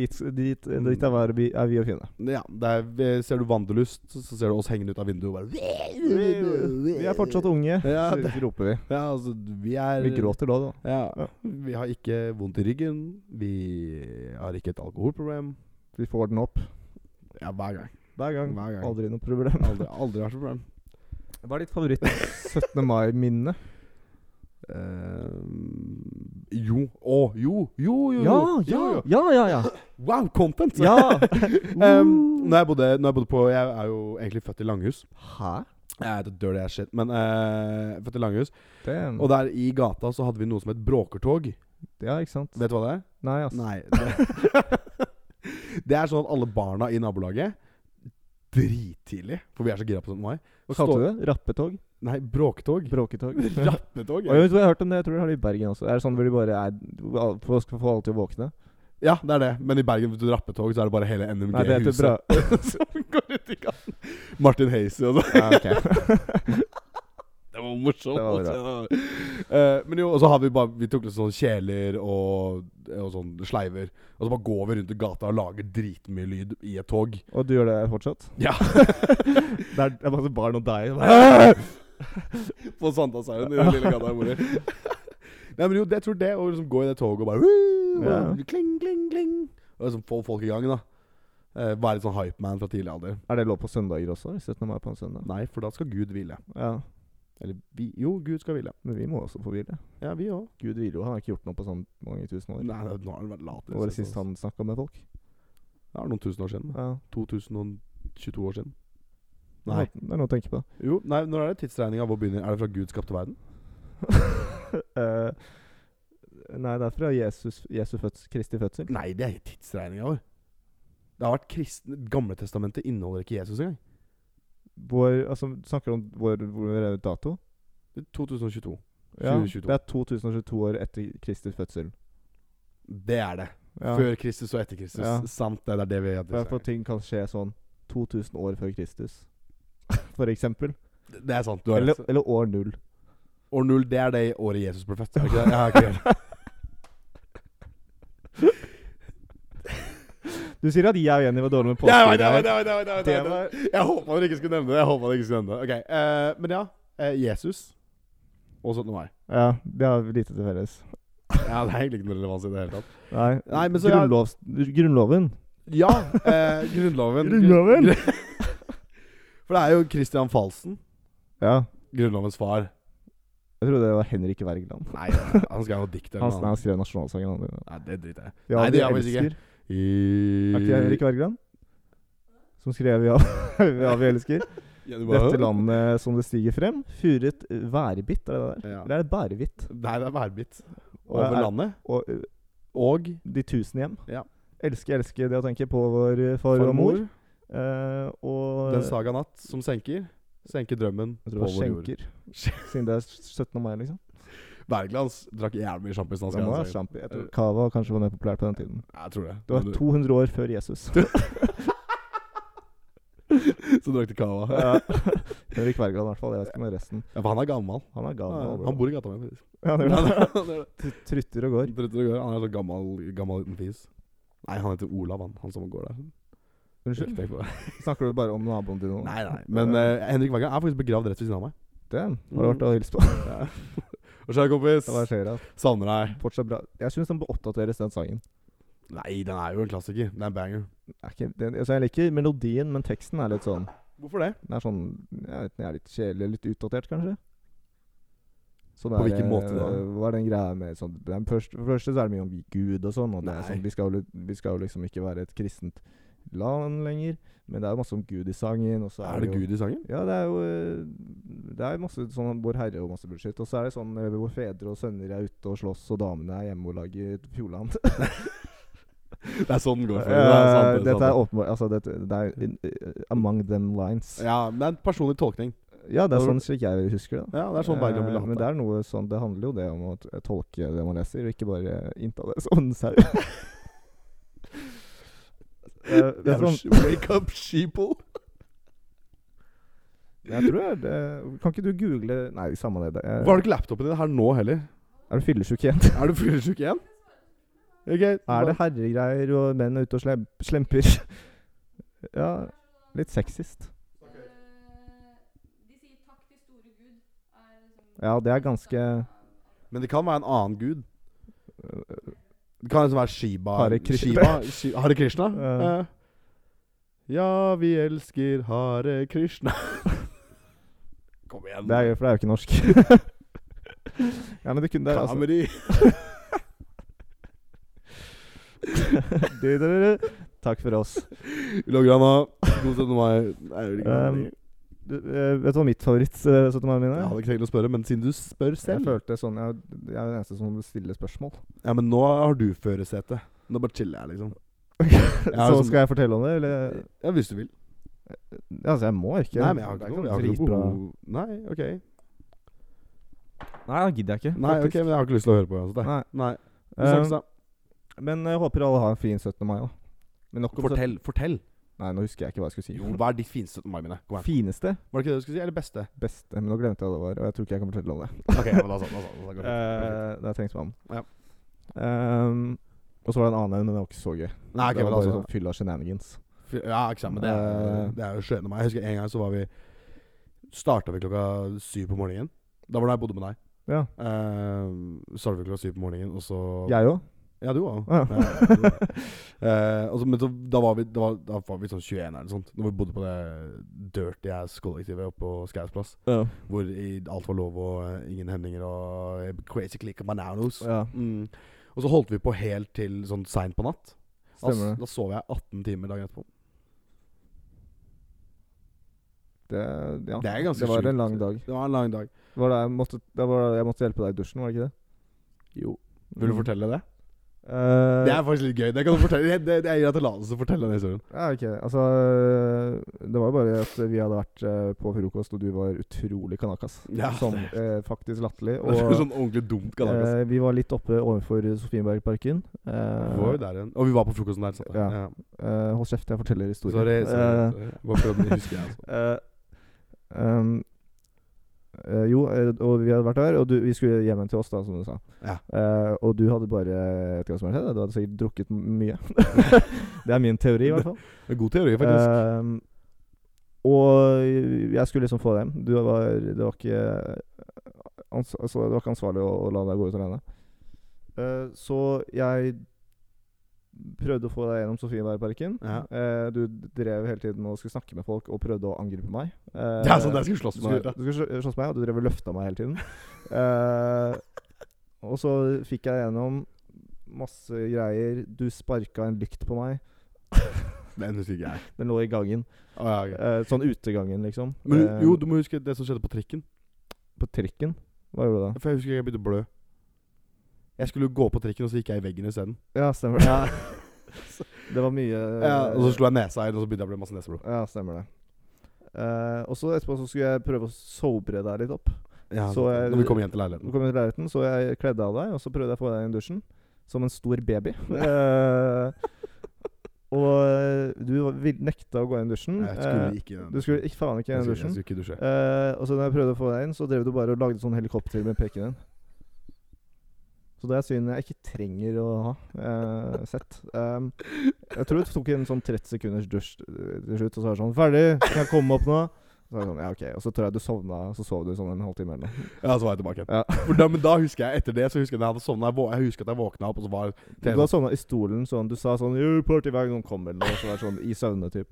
Speaker 1: dit, dit, dit er, vi, er vi å finne.
Speaker 2: ja, det er, ser du Vandrelust, så så ser du oss hengende ut av vinduet og bare
Speaker 1: Vi er fortsatt unge, ja,
Speaker 2: Ja, det-
Speaker 1: roper vi.
Speaker 2: Ja, altså, vi er
Speaker 1: Vi gråter da, da. Ja.
Speaker 2: Ja. Vi har ikke vondt i ryggen. Vi har ikke et alkoholproblem.
Speaker 1: Vi får den opp
Speaker 2: Ja, hver gang.
Speaker 1: hver gang.
Speaker 2: Hver gang.
Speaker 1: Aldri noe problem.
Speaker 2: Aldri, aldri vært et problem.
Speaker 1: Hva er ditt favoritt 17. mai-minne?
Speaker 2: Eh, jo. Å, jo. Jo, jo, jo.
Speaker 1: Ja,
Speaker 2: jo,
Speaker 1: ja,
Speaker 2: jo.
Speaker 1: ja, ja! ja.
Speaker 2: Wow, content!
Speaker 1: ja.
Speaker 2: Em, når, jeg bodde, når jeg bodde på Jeg er jo egentlig født i Langhus.
Speaker 1: Hæ?
Speaker 2: Jeg er dirty as shit, men eh, født i Langhus.
Speaker 1: Damn.
Speaker 2: Og der i gata så hadde vi noe som het Bråkertog.
Speaker 1: Ja, ikke sant?
Speaker 2: Vet du hva det er?
Speaker 1: Nei, altså.
Speaker 2: Nei. Det, det er sånn at alle barna i nabolaget Drittidlig, for vi er så gira på 17. mai.
Speaker 1: Hva kalte du det? Rappetog?
Speaker 2: Nei, bråketog.
Speaker 1: Bråketog? Og
Speaker 2: Rappetog.
Speaker 1: jeg, vet, hva jeg har hørt om det, jeg tror de har det i Bergen også. Er det sånn hvor de bare er For å få alle til å våkne?
Speaker 2: Ja, det er det. Men i Bergen, hvis du rappetog, så er det bare hele
Speaker 1: Nei, det heter bra.
Speaker 2: NMG-huset som går ut i gangen. Martin Hazy og sånn.
Speaker 1: Ja, ok.
Speaker 2: Det var morsomt.
Speaker 1: Det var
Speaker 2: altså. Eh, men jo, og så har vi bare Vi tok litt sånn kjeler og, og sånn sleiver. Og så bare går vi rundt i gata og lager dritmye lyd i et tog.
Speaker 1: Og du gjør det fortsatt?
Speaker 2: Ja.
Speaker 1: Det er, det er masse barn og deg.
Speaker 2: På Sandalshaugen, i den lille gata jeg bor i. Nei, men jo, jeg tror det å liksom gå i det toget og bare «Woo!» og
Speaker 1: Ja.
Speaker 2: Kling, kling, kling. Og liksom få folk i gang, da. Eh, være litt sånn hypeman fra tidlig alder.
Speaker 1: Er det lov på søndager også? 17. mai på en søndag?
Speaker 2: Nei, for da skal Gud hvile.
Speaker 1: Ja,
Speaker 2: Eller vi Jo, Gud skal hvile.
Speaker 1: men vi må også få hvile.
Speaker 2: Ja, vi òg.
Speaker 1: Gud hviler jo, han har ikke gjort noe på sånn mange tusen år.
Speaker 2: Nei, nå har han vært lat.
Speaker 1: Hva var det sist han snakka med folk?
Speaker 2: Det er noen tusen år siden. da.
Speaker 1: Ja.
Speaker 2: 2022 år siden. Nei.
Speaker 1: Det er noe å tenke på.
Speaker 2: Jo, nei, når er det tidsregninga vår begynner? Er det fra Gud skapte verden?
Speaker 1: Eh, nei, det er fra Jesus, Jesu fødsel, Kristi fødsel.
Speaker 2: Nei, det er ikke tidsregninga vår. Det har vært kristne Gamletestamentet inneholder ikke Jesus engang.
Speaker 1: Vår, altså, snakker du om vår, vår eh, dato?
Speaker 2: 2022.
Speaker 1: Ja,
Speaker 2: 2022.
Speaker 1: Det er 2022 år etter Kristi fødsel.
Speaker 2: Det er det.
Speaker 1: Ja.
Speaker 2: Før Kristus og etter Kristus.
Speaker 1: Ja.
Speaker 2: Sant det. Det er det vi har
Speaker 1: For, for ting kan skje sånn 2000 år før Kristus, for eksempel.
Speaker 2: Det- Det er sant. Du har
Speaker 1: Eller,
Speaker 2: rett.
Speaker 1: eller år null.
Speaker 2: År null, det er det året Jesus ble født. Er det ikke det? Jeg har ikke helt.
Speaker 1: Du sier at jeg og Jenny var dårlige med
Speaker 2: Jeg
Speaker 1: påskeegg.
Speaker 2: vet, jeg vet, jeg vet, jeg vet, jeg vet, jeg
Speaker 1: Det
Speaker 2: vet.
Speaker 1: var
Speaker 2: Jeg håpa dere ikke skulle nevne det. Jeg håpet dere ikke skulle nevne det Ok, eh, Men ja. eh, Jesus og 17. mai.
Speaker 1: Ja, det har vi lite til felles.
Speaker 2: Ja, det er egentlig ikke noe relevans i det hele tatt.
Speaker 1: Nei,
Speaker 2: Nei, men så jeg-
Speaker 1: Grunnlovs, Grunnloven.
Speaker 2: Ja, eh, Grunnloven
Speaker 1: Grunnloven?
Speaker 2: For det er jo Christian Falsen,
Speaker 1: Ja.
Speaker 2: Grunnlovens far,
Speaker 1: Jeg trodde det var Henrik Wergeland.
Speaker 2: Nei, nei, han skal ha noe dikt. eller
Speaker 1: Han,
Speaker 2: noe
Speaker 1: nei, han skrev nasjonalsangen. Han.
Speaker 2: annet. Nei, det driter jeg i.
Speaker 1: Ja,
Speaker 2: Nei,
Speaker 1: vi
Speaker 2: det gjør jeg faktisk
Speaker 1: elsker.
Speaker 2: I-
Speaker 1: Er ikke det Henrik Wergeland? Som skrev ja, ja, vi elsker.
Speaker 2: Ja, du bare-
Speaker 1: Dette landet som det stiger frem, furet værbitt, er det det der?
Speaker 2: Ja.
Speaker 1: Eller er det bærevitt?
Speaker 2: Nei, det er værbitt.
Speaker 1: Og,
Speaker 2: Over
Speaker 1: er-
Speaker 2: landet.
Speaker 1: og ø,
Speaker 2: Og
Speaker 1: de tusen hjem.
Speaker 2: Ja.
Speaker 1: Elske, elske det å tenke på vår ø, far og mor. Eh, og
Speaker 2: Den saga natt som senker. Senker drømmen
Speaker 1: Jeg tror det var skjenker. Siden det er 17. mai, liksom.
Speaker 2: Wergelands drakk jævlig mye sjampis.
Speaker 1: Det må være sjampi. Jeg tror
Speaker 2: Eh,
Speaker 1: Cava kanskje var mer populært på den tiden.
Speaker 2: altså. Jeg tror det.
Speaker 1: Det var
Speaker 2: Men
Speaker 1: 200 år før Jesus.
Speaker 2: Så drakk de cava. Ja.
Speaker 1: Ja. Henrik Wergeland, i hvert fall. Jeg vet ikke med resten.
Speaker 2: for han er gammel.
Speaker 1: Han er
Speaker 2: Ja,
Speaker 1: gammel.
Speaker 2: han bor i gata mi. faktisk.
Speaker 1: ja, det
Speaker 2: Han
Speaker 1: er det.
Speaker 2: er- han er det.
Speaker 1: Tr- Trutter og går.
Speaker 2: Tror du det går? Han er så gammel, gammel liten fis. Nei, han heter Olav, han, han som går der.
Speaker 1: Unnskyld.
Speaker 2: Ikke tenk på det.
Speaker 1: Snakker du bare om naboen din nå? eh,
Speaker 2: Nei, nei. Men eh, Henrik Wergeland er faktisk begravd rett ved siden av meg.
Speaker 1: Damn. Har du vært og hilst på?
Speaker 2: Ja. Og så er det, kompis.
Speaker 1: Hva skjer da?
Speaker 2: Savner deg.
Speaker 1: Fortsatt bra. Jeg syns den bør oppdateres, den sangen.
Speaker 2: Nei, den er jo en klassiker. Det er en banger.
Speaker 1: Er ikke, den, altså jeg liker melodien, men teksten er litt sånn
Speaker 2: Hvorfor det?
Speaker 1: Den er sånn Jeg vet ikke, den er litt kjedelig, litt utdatert, kanskje? Sånn der,
Speaker 2: På hvilken måte da?
Speaker 1: eh, Hva er den greia med sånn den første, For det første så er det mye om Gud og sånn, og det er
Speaker 2: Nei.
Speaker 1: sånn vi skal, jo li- vi skal jo liksom ikke være et kristent land lenger, men det er jo masse om Gud i sangen, og så er,
Speaker 2: Er det
Speaker 1: jo,
Speaker 2: Gud i sangen?
Speaker 1: Ja, det er jo eh, Det er masse sånn Vår Herre og masse bullshit. Og så er det sånn eh, hvor fedre og sønner er ute og slåss, og damene er hjemme og lager fjordland.
Speaker 2: Det er sånn den går for.
Speaker 1: Eh,
Speaker 2: det er sant, det er sant.
Speaker 1: Dette er åpenbart Altså, dette, det er in, eh, among them lines. Ja,
Speaker 2: Ja, men det er en personlig tolkning.
Speaker 1: det er sånn slik jeg husker det. da.
Speaker 2: Ja, det er sånn Bergland ville
Speaker 1: Eh,
Speaker 2: hatt
Speaker 1: Men det
Speaker 2: det.
Speaker 1: er noe sånn Det handler jo det om å t- tolke det man leser, og ikke bare innta det som en sau. Eh, det er
Speaker 2: Jævla
Speaker 1: sånn,
Speaker 2: sh- Wake up, sheeple!
Speaker 1: jeg tror det er det Kan ikke du google Nei, samme det. det er-
Speaker 2: Var det ikke laptopen din her nå heller?
Speaker 1: er du fyllesyk igjen?
Speaker 2: Er du fyllesyk igjen? Ok,
Speaker 1: Er det herregreier og menn er ute og slem, slemper? ja, litt sexist.
Speaker 3: De sier takk til store Gud. Er liksom
Speaker 1: Ja, det er ganske
Speaker 2: Men det kan være en annen gud. Det kan liksom være Shiba.
Speaker 1: Eh, Hare Krishna.
Speaker 2: Shiva, Shi- Hare Krishna?
Speaker 1: Ja.
Speaker 2: Eh. Ja, vi elsker Hare Krishna. Kom igjen.
Speaker 1: Det er gøy, for det er jo ikke norsk. ja, men det kunne det er, altså.
Speaker 2: Kameri.
Speaker 1: Du, du, du, du. altså- Takk for oss.
Speaker 2: Lograna. God 17. mai. Nei, jeg vil ikke
Speaker 1: Um,
Speaker 2: kameri.
Speaker 1: Du, eh, vet du hva mitt eh, favoritt-17. mai-minne
Speaker 2: jeg
Speaker 1: er?
Speaker 2: hadde ikke tenkt å spørre, men siden du spør
Speaker 1: Jeg
Speaker 2: selv
Speaker 1: følte sånn Jeg, jeg er den eneste som stiller spørsmål.
Speaker 2: Ja, men nå har du førersete. Nå bare chiller jeg, liksom.
Speaker 1: så
Speaker 2: liksom-
Speaker 1: skal jeg fortelle om det, eller?
Speaker 2: Ja, hvis du vil.
Speaker 1: Altså, jeg må ikke.
Speaker 2: Nei, men jeg har
Speaker 1: Det
Speaker 2: ikke
Speaker 1: er
Speaker 2: noe jeg
Speaker 1: sånn
Speaker 2: har ikke noe
Speaker 1: dritbra-
Speaker 2: behov Nei, OK.
Speaker 1: Nei, da gidder jeg ikke.
Speaker 2: Nei, ok,
Speaker 1: faktisk.
Speaker 2: men jeg har ikke lyst til å høre på uansett. jeg.
Speaker 1: Nei.
Speaker 2: Nei. Vi
Speaker 1: Eh,
Speaker 2: snakkes da.
Speaker 1: men jeg håper alle har en fin 17. mai, da. Men nok om sytt-
Speaker 2: Fortell. fortell
Speaker 1: Nei, nå husker jeg ikke hva jeg skulle si.
Speaker 2: Jo, hva er ditt fineste 17. mai-minne? Kom igjen.
Speaker 1: Fineste,
Speaker 2: Var det ikke det du skulle si? Eller beste?
Speaker 1: beste Men nå glemte jeg hva det var, og jeg tror ikke jeg kan fortelle om det.
Speaker 2: Ok, ja, men da sa da sa- da sa- går det.
Speaker 1: Eh, det har jeg tenkt meg om.
Speaker 2: Ja.
Speaker 1: Ehm, og så var det en annen en, men det var ikke så gøy.
Speaker 2: Nei, ok,
Speaker 1: det var
Speaker 2: men altså- da
Speaker 1: bare
Speaker 2: sa
Speaker 1: sånn fyll av shenanigans.
Speaker 2: Ja, ikke sant, men det er,
Speaker 1: Eh.
Speaker 2: det er jo skjønne meg. Jeg husker en gang så var vi Starta vi klokka syv på morgenen. Da var det da jeg bodde med deg.
Speaker 1: Ja.
Speaker 2: Uh, starta vi klokka syv på morgenen, og så
Speaker 1: Jeg òg.
Speaker 2: Ja, du òg.
Speaker 1: Ja.
Speaker 2: men så, da, var vi, da, var, da var vi sånn 21 eller noe sånt. Når vi bodde på det dirty ass-kollektivet oppe på Skaus plass.
Speaker 1: Ja.
Speaker 2: Hvor i, alt var lov og eh, ingen hemninger og eh, crazy click og bananos.
Speaker 1: ja.
Speaker 2: Mm. Og så holdt vi på helt til sånn seint på natt. Da,
Speaker 1: Stemmer det.
Speaker 2: da sov jeg 18 timer dagen etterpå.
Speaker 1: Det, ja.
Speaker 2: Det er ganske
Speaker 1: det var
Speaker 2: sjukt.
Speaker 1: en lang dag.
Speaker 2: Det var en lang dag.
Speaker 1: Det var da jeg måtte, det var da jeg måtte hjelpe deg i dusjen, var det ikke det?
Speaker 2: Jo. Vil du fortelle det?
Speaker 1: Mm. Eh,
Speaker 2: Det er faktisk litt gøy. Det kan du fortelle. Jeg, det, jeg gir deg tillatelse til å fortelle den historien.
Speaker 1: Ja, ok. Altså Det var jo bare at vi hadde vært eh, på frokost, og du var utrolig kanakas.
Speaker 2: Ja,
Speaker 1: sånn eh, faktisk latterlig.
Speaker 2: Det
Speaker 1: Og
Speaker 2: er sånn ordentlig dumt kanakas.
Speaker 1: eh, vi var litt oppe overfor Sofienbergparken. Eh,
Speaker 2: Var jo der igjen. Og vi var på frokosten der. Sant?
Speaker 1: Ja. eh, hold kjeft, jeg forteller historien.
Speaker 2: Sorry. sorry,
Speaker 1: Eh,
Speaker 2: sorry. Bare prøv å huske det. Altså.
Speaker 1: Eh, ehm, eh, jo, eh, og vi hadde vært der, og du, vi skulle hjem igjen til oss, da, som du sa.
Speaker 2: Ja.
Speaker 1: Eh, og du hadde bare Jeg vet ikke hva som hadde skjedd, du hadde sikkert drukket m- mye. det er min teori, i hvert fall.
Speaker 2: Det er God teori, faktisk.
Speaker 1: Ehm, og jeg skulle liksom få dem. Du var, det, var ikke ans altså, det var ikke ansvarlig å, å la deg gå ut alene. Eh, så jeg prøvde å få deg gjennom Sofienbergparken.
Speaker 2: Ja.
Speaker 1: Eh, du drev hele tiden og skulle snakke med folk og prøvde å angripe meg. Eh,
Speaker 2: Det er sånn jeg skulle
Speaker 1: du
Speaker 2: slåss med.
Speaker 1: skulle,
Speaker 2: deg.
Speaker 1: du skulle slå- slåss med meg, og du drev og løfta meg hele tiden. Eh, og så fikk jeg gjennom masse greier. Du sparka en lykt på meg.
Speaker 2: Den husker ikke jeg.
Speaker 1: Den lå i gangen.
Speaker 2: Å, ja, ok.
Speaker 1: Eh, sånn utegangen, liksom.
Speaker 2: Men
Speaker 1: Eh,
Speaker 2: jo, du må huske det som skjedde på trikken.
Speaker 1: På trikken. Hva gjorde du da?
Speaker 2: For jeg husker jeg begynte å blø. Jeg skulle jo gå på trikken, og så gikk jeg i veggen isteden.
Speaker 1: Ja, stemmer det.
Speaker 2: Ja.
Speaker 1: Det var mye
Speaker 2: Ja, og så slo jeg nesa i den, og så begynte jeg å bli masse neseblod.
Speaker 1: Ja, stemmer det. Eh, og så etterpå så skulle jeg prøve å sobre deg litt opp.
Speaker 2: Ja,
Speaker 1: Så jeg-
Speaker 2: når vi kom hjem til
Speaker 1: Du
Speaker 2: leiligheten.
Speaker 1: kom inn i leiligheten, så jeg kledde av deg, og så prøvde jeg å få deg inn i dusjen. Som en stor baby. Eh, og eh, du var- vil- nekta å gå inn i dusjen.
Speaker 2: Jeg skulle
Speaker 1: Eh,
Speaker 2: ikke i den.
Speaker 1: du skulle ikke, faen ikke inn
Speaker 2: Jeg
Speaker 1: i
Speaker 2: skulle- jeg
Speaker 1: dusjen.
Speaker 2: skulle ikke dusje.
Speaker 1: Eh, og så når jeg prøvde å få deg inn, så drev du bare og lagde sånn helikopter med peken din. Så det er syn jeg ikke trenger å ha eh, sett. Um, jeg tror det tok en sånn 30 sekunders dusj til slutt, og så var det sånn Ferdig! Kan jeg komme opp nå? Så var jeg sånn, ja, ok. Og så tror jeg du sovna, så sov du sånn en halvtime eller noe.
Speaker 2: Ja, så var jeg tilbake igjen.
Speaker 1: Ja.
Speaker 2: For da, men da husker jeg etter det så husker jeg at jeg hadde sovnet. Jeg vå- Jeg husker at jeg våkna opp, og så var
Speaker 1: Du hadde sovna i stolen sånn. Du sa sånn «Yo, 'Party hver gang noen kommer', eller så var det sånn i søvne, typ.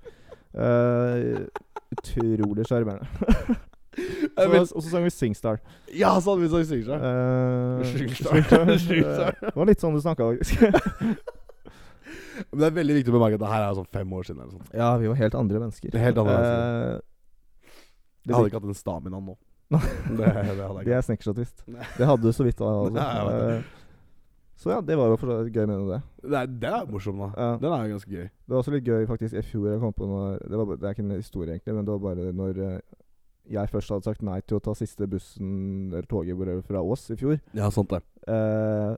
Speaker 1: Eh, utrolig sjarmerende.
Speaker 2: Jeg vet-
Speaker 1: Så- Og så sang vi Singstar.
Speaker 2: Ja, så hadde vi sånn synsdag.
Speaker 1: Uh,
Speaker 2: Singstar. Singstar.
Speaker 1: Det var litt sånn du snakka, faktisk.
Speaker 2: Men det er veldig viktig å bemerke at det her er jo sånn fem år siden. eller sånt.
Speaker 1: Ja, vi var helt andre mennesker.
Speaker 2: Helt andre
Speaker 1: mennesker.
Speaker 2: Jeg hadde ikke hatt den staminaen nå.
Speaker 1: Nei.
Speaker 2: Det, det hadde jeg
Speaker 1: det
Speaker 2: ikke.
Speaker 1: er snikkerstatist.
Speaker 2: Nei.
Speaker 1: Det hadde du så vidt da. Altså.
Speaker 2: Nei, jeg vet det.
Speaker 1: Eh, så ja, det var jo for så vidt gøy med det.
Speaker 2: Nei, den er jo morsom, da.
Speaker 1: Ja.
Speaker 2: Den er jo ganske gøy.
Speaker 1: Det var også litt gøy faktisk i fjor jeg kom på når, det, var, bare- det er ikke en historie egentlig, men det var bare når eh, jeg først hadde sagt nei til å ta siste bussen eller toget whatever, fra Ås i fjor.
Speaker 2: Ja, sant det.
Speaker 1: Eh,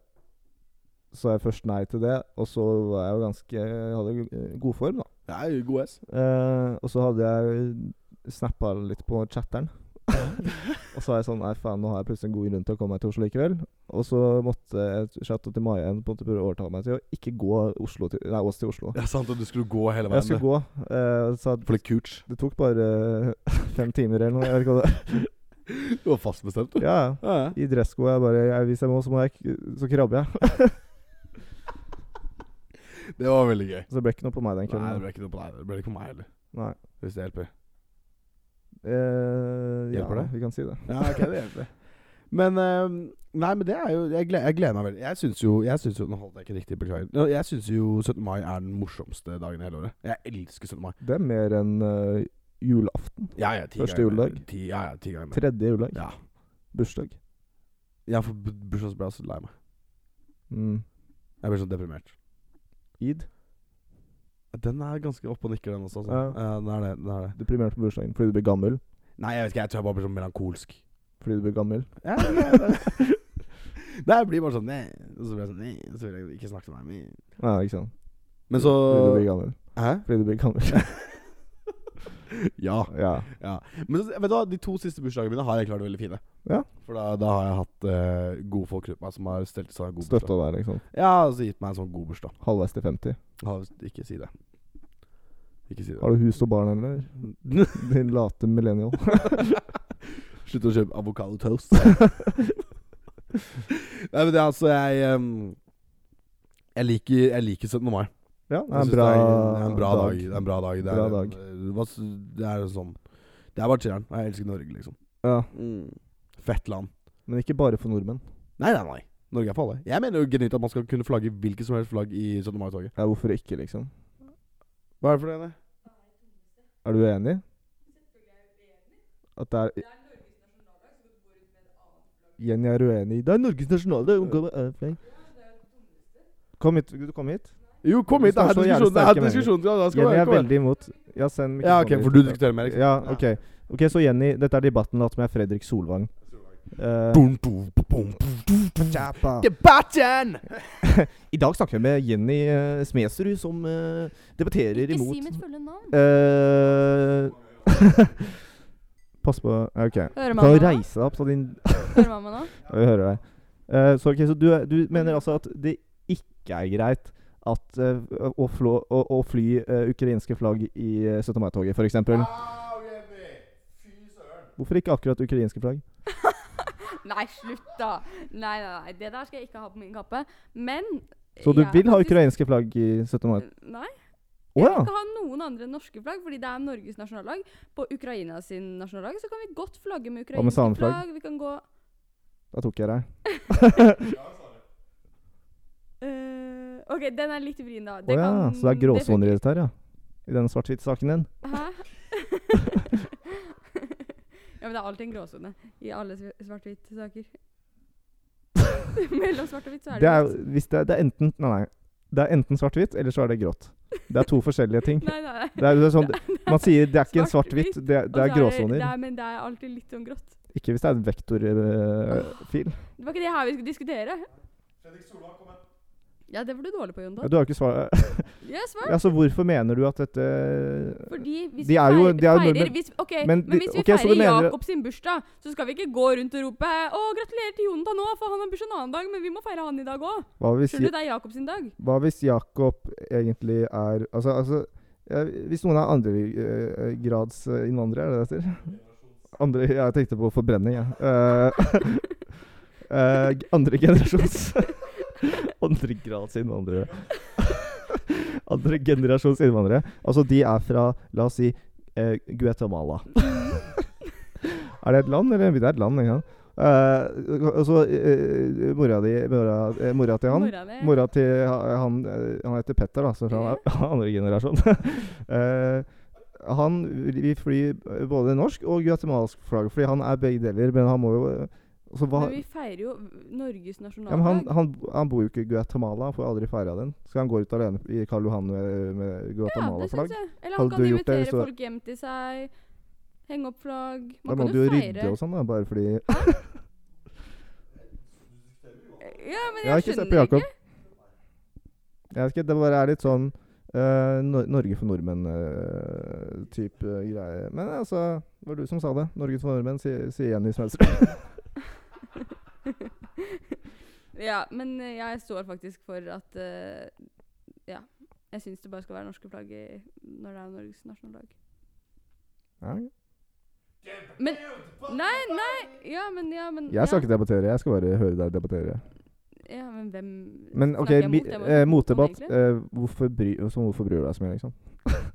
Speaker 1: så jeg først nei til det, og så var jeg jo ganske jeg hadde jo, eh, god form, da.
Speaker 2: Det er jo god S.
Speaker 1: Eh, og så hadde jeg snappa litt på chatteren. og så var jeg sånn Nei, faen, nå har jeg plutselig en god grunn til å komme meg til Oslo likevel. Og så måtte jeg chatte til Mai igjen på en måte prøve å overtale meg til å ikke gå Oslo til, nei, Ås til Oslo.
Speaker 2: Det er sant at du skulle gå
Speaker 1: Jeg
Speaker 2: hele veien.
Speaker 1: skulle
Speaker 2: du.
Speaker 1: gå. eh, så at-
Speaker 2: For litt cooch.
Speaker 1: det tok bare eh, fem timer eller noe. Jeg vet ikke hva det
Speaker 2: Du var fast bestemt, du.
Speaker 1: Ja, ja.
Speaker 2: Ja, ja.
Speaker 1: I dressko. Jeg bare jeg, Hvis jeg må, så må jeg k- Så krabber jeg.
Speaker 2: Det var veldig gøy.
Speaker 1: Så det ble ikke noe på meg den
Speaker 2: Nei, det
Speaker 1: kvelden.
Speaker 2: ble ikke noe på deg. Det ble ikke på meg heller.
Speaker 1: Nei.
Speaker 2: Hvis det hjelper.
Speaker 1: Eh, ja,
Speaker 2: Hjelper det?
Speaker 1: vi kan si det.
Speaker 2: Ja, ok, det hjelper. Men eh, Nei, men det er jo Jeg gleder, jeg gleder meg veldig. Jeg syns jo, jeg syns jo Nå holdt jeg ikke riktig, beklager. Nå, Jeg syns jo 17. mai er den morsomste dagen i hele året. Jeg elsker 17. mai.
Speaker 1: Det er mer enn eh, julaften.
Speaker 2: Ja, ja, ti
Speaker 1: Første
Speaker 2: ganger mer.
Speaker 1: juledag.
Speaker 2: Ti, ja, ja, ti ganger mer.
Speaker 1: Tredje juledag.
Speaker 2: Ja.
Speaker 1: Bursdag.
Speaker 2: Ja, for bu- bursdagen ble jeg så lei meg.
Speaker 1: Mm.
Speaker 2: Jeg blir så deprimert.
Speaker 1: Eid.
Speaker 2: Den er ganske oppe og nikker, den også. Altså.
Speaker 1: Ja.
Speaker 2: Eh, den er det. Den er det.
Speaker 1: deprimert på bursdagen fordi du blir gammel.
Speaker 2: Nei, jeg vet ikke. Jeg tror jeg bare blir sånn melankolsk.
Speaker 1: Fordi du blir gammel.
Speaker 2: Ja, det, det jeg blir bare sånn nei, Og så blir jeg sånn nei, og så vil jeg ikke snakke med meg. nei.
Speaker 1: Nei, ikke sant.
Speaker 2: Men så
Speaker 1: Fordi du blir gammel.
Speaker 2: Hæ?
Speaker 1: Fordi du blir gammel.
Speaker 2: Ja.
Speaker 1: ja.
Speaker 2: Men så, vet du hva, de to siste bursdagene mine har jeg klart veldig fine.
Speaker 1: Ja.
Speaker 2: For da, da har jeg hatt eh, gode folk rundt meg som har stelt seg en god
Speaker 1: Støtta
Speaker 2: bursdag.
Speaker 1: deg, liksom.
Speaker 2: Ja, og så gitt meg en sånn god bursdag.
Speaker 1: Halvveis til 50.
Speaker 2: Har- Ikke si det. Ikke si det.
Speaker 1: Har du hus og barn, eller? Din late millennial.
Speaker 2: Slutt å kjøpe avokadotoast. Nei, men det er altså Jeg em, Jeg liker, jeg liker 17. mai.
Speaker 1: Ja, det
Speaker 2: Jeg
Speaker 1: er en
Speaker 2: synes
Speaker 1: bra,
Speaker 2: det, er en, det er en bra dag. Det er en bra dag. Det er,
Speaker 1: Bra
Speaker 2: en-
Speaker 1: dag.
Speaker 2: eh, hva s- det er en sånn Det er bare chiller'n. Jeg elsker Norge, liksom.
Speaker 1: Ja,
Speaker 2: Fett land.
Speaker 1: Men ikke bare for nordmenn.
Speaker 2: Nei, nei, nei. Norge er for alle. Jeg mener jo genuint at man skal kunne flagge hvilket som helst flagg i 17. mai-toget.
Speaker 1: Ja, hvorfor ikke, liksom?
Speaker 2: Hva er det for det?
Speaker 1: Er du enig? At det er Jenny er uenig. Det er Norges nasjonaldag! hun kommer- er flink. Kom hit. Vil du komme hit?
Speaker 2: Jo, kom hit! Det er
Speaker 1: Vi skal så jævlig
Speaker 2: diskusjon! Det er
Speaker 1: sterke
Speaker 2: diskusjon. Ja, da skal
Speaker 1: Jenny
Speaker 2: vi-
Speaker 1: er
Speaker 2: kom igjen.
Speaker 1: veldig imot. Ja, send
Speaker 2: ja, ok,
Speaker 1: mikrofonen
Speaker 2: for
Speaker 1: dit.
Speaker 2: du liksom. diskuterer mer, ikke sant?
Speaker 1: Ja, ok. Ok, Så Jenny, dette er debatten latt som jeg er Fredrik Solvang. Eh,
Speaker 2: Boom, boom, boom, boom, boom, boom. Debatten!
Speaker 1: I dag snakker vi med Jenny eh, Smedsrud, som eh, debatterer
Speaker 3: Ikke
Speaker 1: imot
Speaker 3: si mitt fulle
Speaker 1: Eh,
Speaker 3: navn.
Speaker 1: Pass på ja, OK.
Speaker 3: Hører
Speaker 1: Kan
Speaker 3: mamma
Speaker 1: du
Speaker 3: nå?
Speaker 1: reise deg opp, så din
Speaker 3: Hører mamma nå?
Speaker 1: Ja, Vi hører deg. Eh, så ok, så du, er- du mener altså at det ikke er greit at, eh, å, flå, å, å fly eh, ukrainske flagg i eh, 17. mai-toget, f.eks.? Hvorfor ikke akkurat ukrainske flagg?
Speaker 3: Nei, slutt, da! Nei, nei, nei. Det der skal jeg ikke ha på min kappe. Men
Speaker 1: Så du
Speaker 3: jeg
Speaker 1: vil
Speaker 3: er
Speaker 1: ha
Speaker 3: faktisk-
Speaker 1: ukrainske flagg i 17. mai?
Speaker 3: Nei.
Speaker 1: Å
Speaker 3: Jeg vil
Speaker 1: ja!
Speaker 3: ikke ha noen andre enn norske flagg, fordi det er Norges nasjonallag. På Ukraina sin nasjonaldag så kan vi godt flagge
Speaker 1: Hva med
Speaker 3: med ukrainske
Speaker 1: sameflagg?
Speaker 3: flagg. Vi kan gå
Speaker 1: Da tok jeg deg.
Speaker 3: eh, OK, den er litt vrien, da.
Speaker 1: Å ja, så det er
Speaker 3: kan- funker.
Speaker 1: gråsoner i dette her, ja? I den svart-hvitt-saken din?
Speaker 3: Hæ? ja, men det er alltid en gråsone i alle sv- svart-hvitt-saker. Mellom svart og hvitt så er
Speaker 1: Det
Speaker 3: det,
Speaker 1: er,
Speaker 3: grått.
Speaker 1: hvis det, er, det er enten Nei, nei. Det er enten svart-hvitt, eller så er det grått. Det er to forskjellige ting.
Speaker 3: Nei, nei, nei.
Speaker 1: Det er, det er sånn, man sier det er ikke en svart-hvitt,
Speaker 3: Svart-hvitt,
Speaker 1: det, er- det er
Speaker 3: Og så
Speaker 1: gråsoner.
Speaker 3: Det er, men det er alltid litt sånn grått.
Speaker 1: Ikke hvis det er en vektorfil.
Speaker 3: Det var ikke det her vi skulle diskutere. Ja, det var du dårlig på, Jon.
Speaker 1: Du har jo ikke svar...
Speaker 3: Ja, svar.
Speaker 1: Ja, så hvorfor mener du at dette
Speaker 3: Fordi hvis
Speaker 1: De er
Speaker 3: vi
Speaker 1: jo-
Speaker 3: feirer,
Speaker 1: de er jo
Speaker 3: feirer
Speaker 1: nordmenn.
Speaker 3: hvis, ok,
Speaker 1: Men
Speaker 3: men,
Speaker 1: de-
Speaker 3: hvis vi
Speaker 1: ok, så du
Speaker 3: feirer
Speaker 1: mener-
Speaker 3: Jakob sin bursdag, så skal vi ikke gå rundt og rope 'Å, gratulerer til Jonathan nå, for han har bursdag en annen dag', men vi må feire han i dag òg.
Speaker 1: Hva hvis,
Speaker 3: Skjønner du, det er Jakob sin dag.
Speaker 1: hva hvis Jakob egentlig er Altså, altså ja, Hvis noen er eh, andregrads innvandrere, er det det heter? Andre, ja, jeg tenkte på forbrenning, jeg. Eh, eh, g- andre generasjons Andregrads innvandrere. andre generasjons innvandrere. Altså, de er fra, la oss si, eh, Guatemala. er det et land, eller? Det er et land, ikke sant? Eh, og så eh, mora di mora, eh, mora til han
Speaker 3: Mora di.
Speaker 1: Mora til ha- han, eh, han heter Petter, da, så han er andre generasjon. Eh, han vil fly både norsk og guatemalsk flagg, fordi han er begge deler, men han må jo eh, så hva,
Speaker 3: Men vi feirer jo Norges
Speaker 1: ja, men han,
Speaker 3: nasjonaldag.
Speaker 1: han, han bor jo ikke i Guatemala, han får aldri feira den. Skal han gå ut alene i Karl Johan med, med
Speaker 3: Ja, det
Speaker 1: Guatemala-flagg?
Speaker 3: syns jeg. Eller
Speaker 1: Hadde
Speaker 3: han
Speaker 1: du gjort
Speaker 3: kan
Speaker 1: det
Speaker 3: invitere
Speaker 1: hvis du-
Speaker 3: folk hjem til seg, henge opp flagg
Speaker 1: da
Speaker 3: Man
Speaker 1: må
Speaker 3: kan
Speaker 1: du
Speaker 3: jo
Speaker 1: jo
Speaker 3: feire.
Speaker 1: rydde og sånn, da, bare fordi
Speaker 3: Ja, men
Speaker 1: Jeg har
Speaker 3: jeg
Speaker 1: ikke sett på
Speaker 3: skjønner
Speaker 1: Jakob.
Speaker 3: ikke.
Speaker 1: Jeg vet ikke, det bare er litt sånn eh, Nor Norge for nordmenn-type greie. Men altså, det var du som sa det. Norge for nordmenn, sier si Jenny Smedsrud.
Speaker 3: Ja, men eh, jeg står faktisk for at eh, Ja. Jeg syns det bare skal være norske flagg i- når det er Norges nasjonaldag.
Speaker 1: Ja.
Speaker 3: Men Nei, nei! Ja, men ja, men
Speaker 1: Jeg skal
Speaker 3: ja.
Speaker 1: ikke debattere, jeg skal bare høre deg debattere.
Speaker 3: ja, men hvem
Speaker 1: Men OK,
Speaker 3: snakker jeg
Speaker 1: mi-
Speaker 3: mot? Jeg må
Speaker 1: eh,
Speaker 3: snakke mot han,
Speaker 1: motdebatt.
Speaker 3: egentlig.
Speaker 1: Eh, hvorfor, bry, så hvorfor bryr du deg så mye, liksom?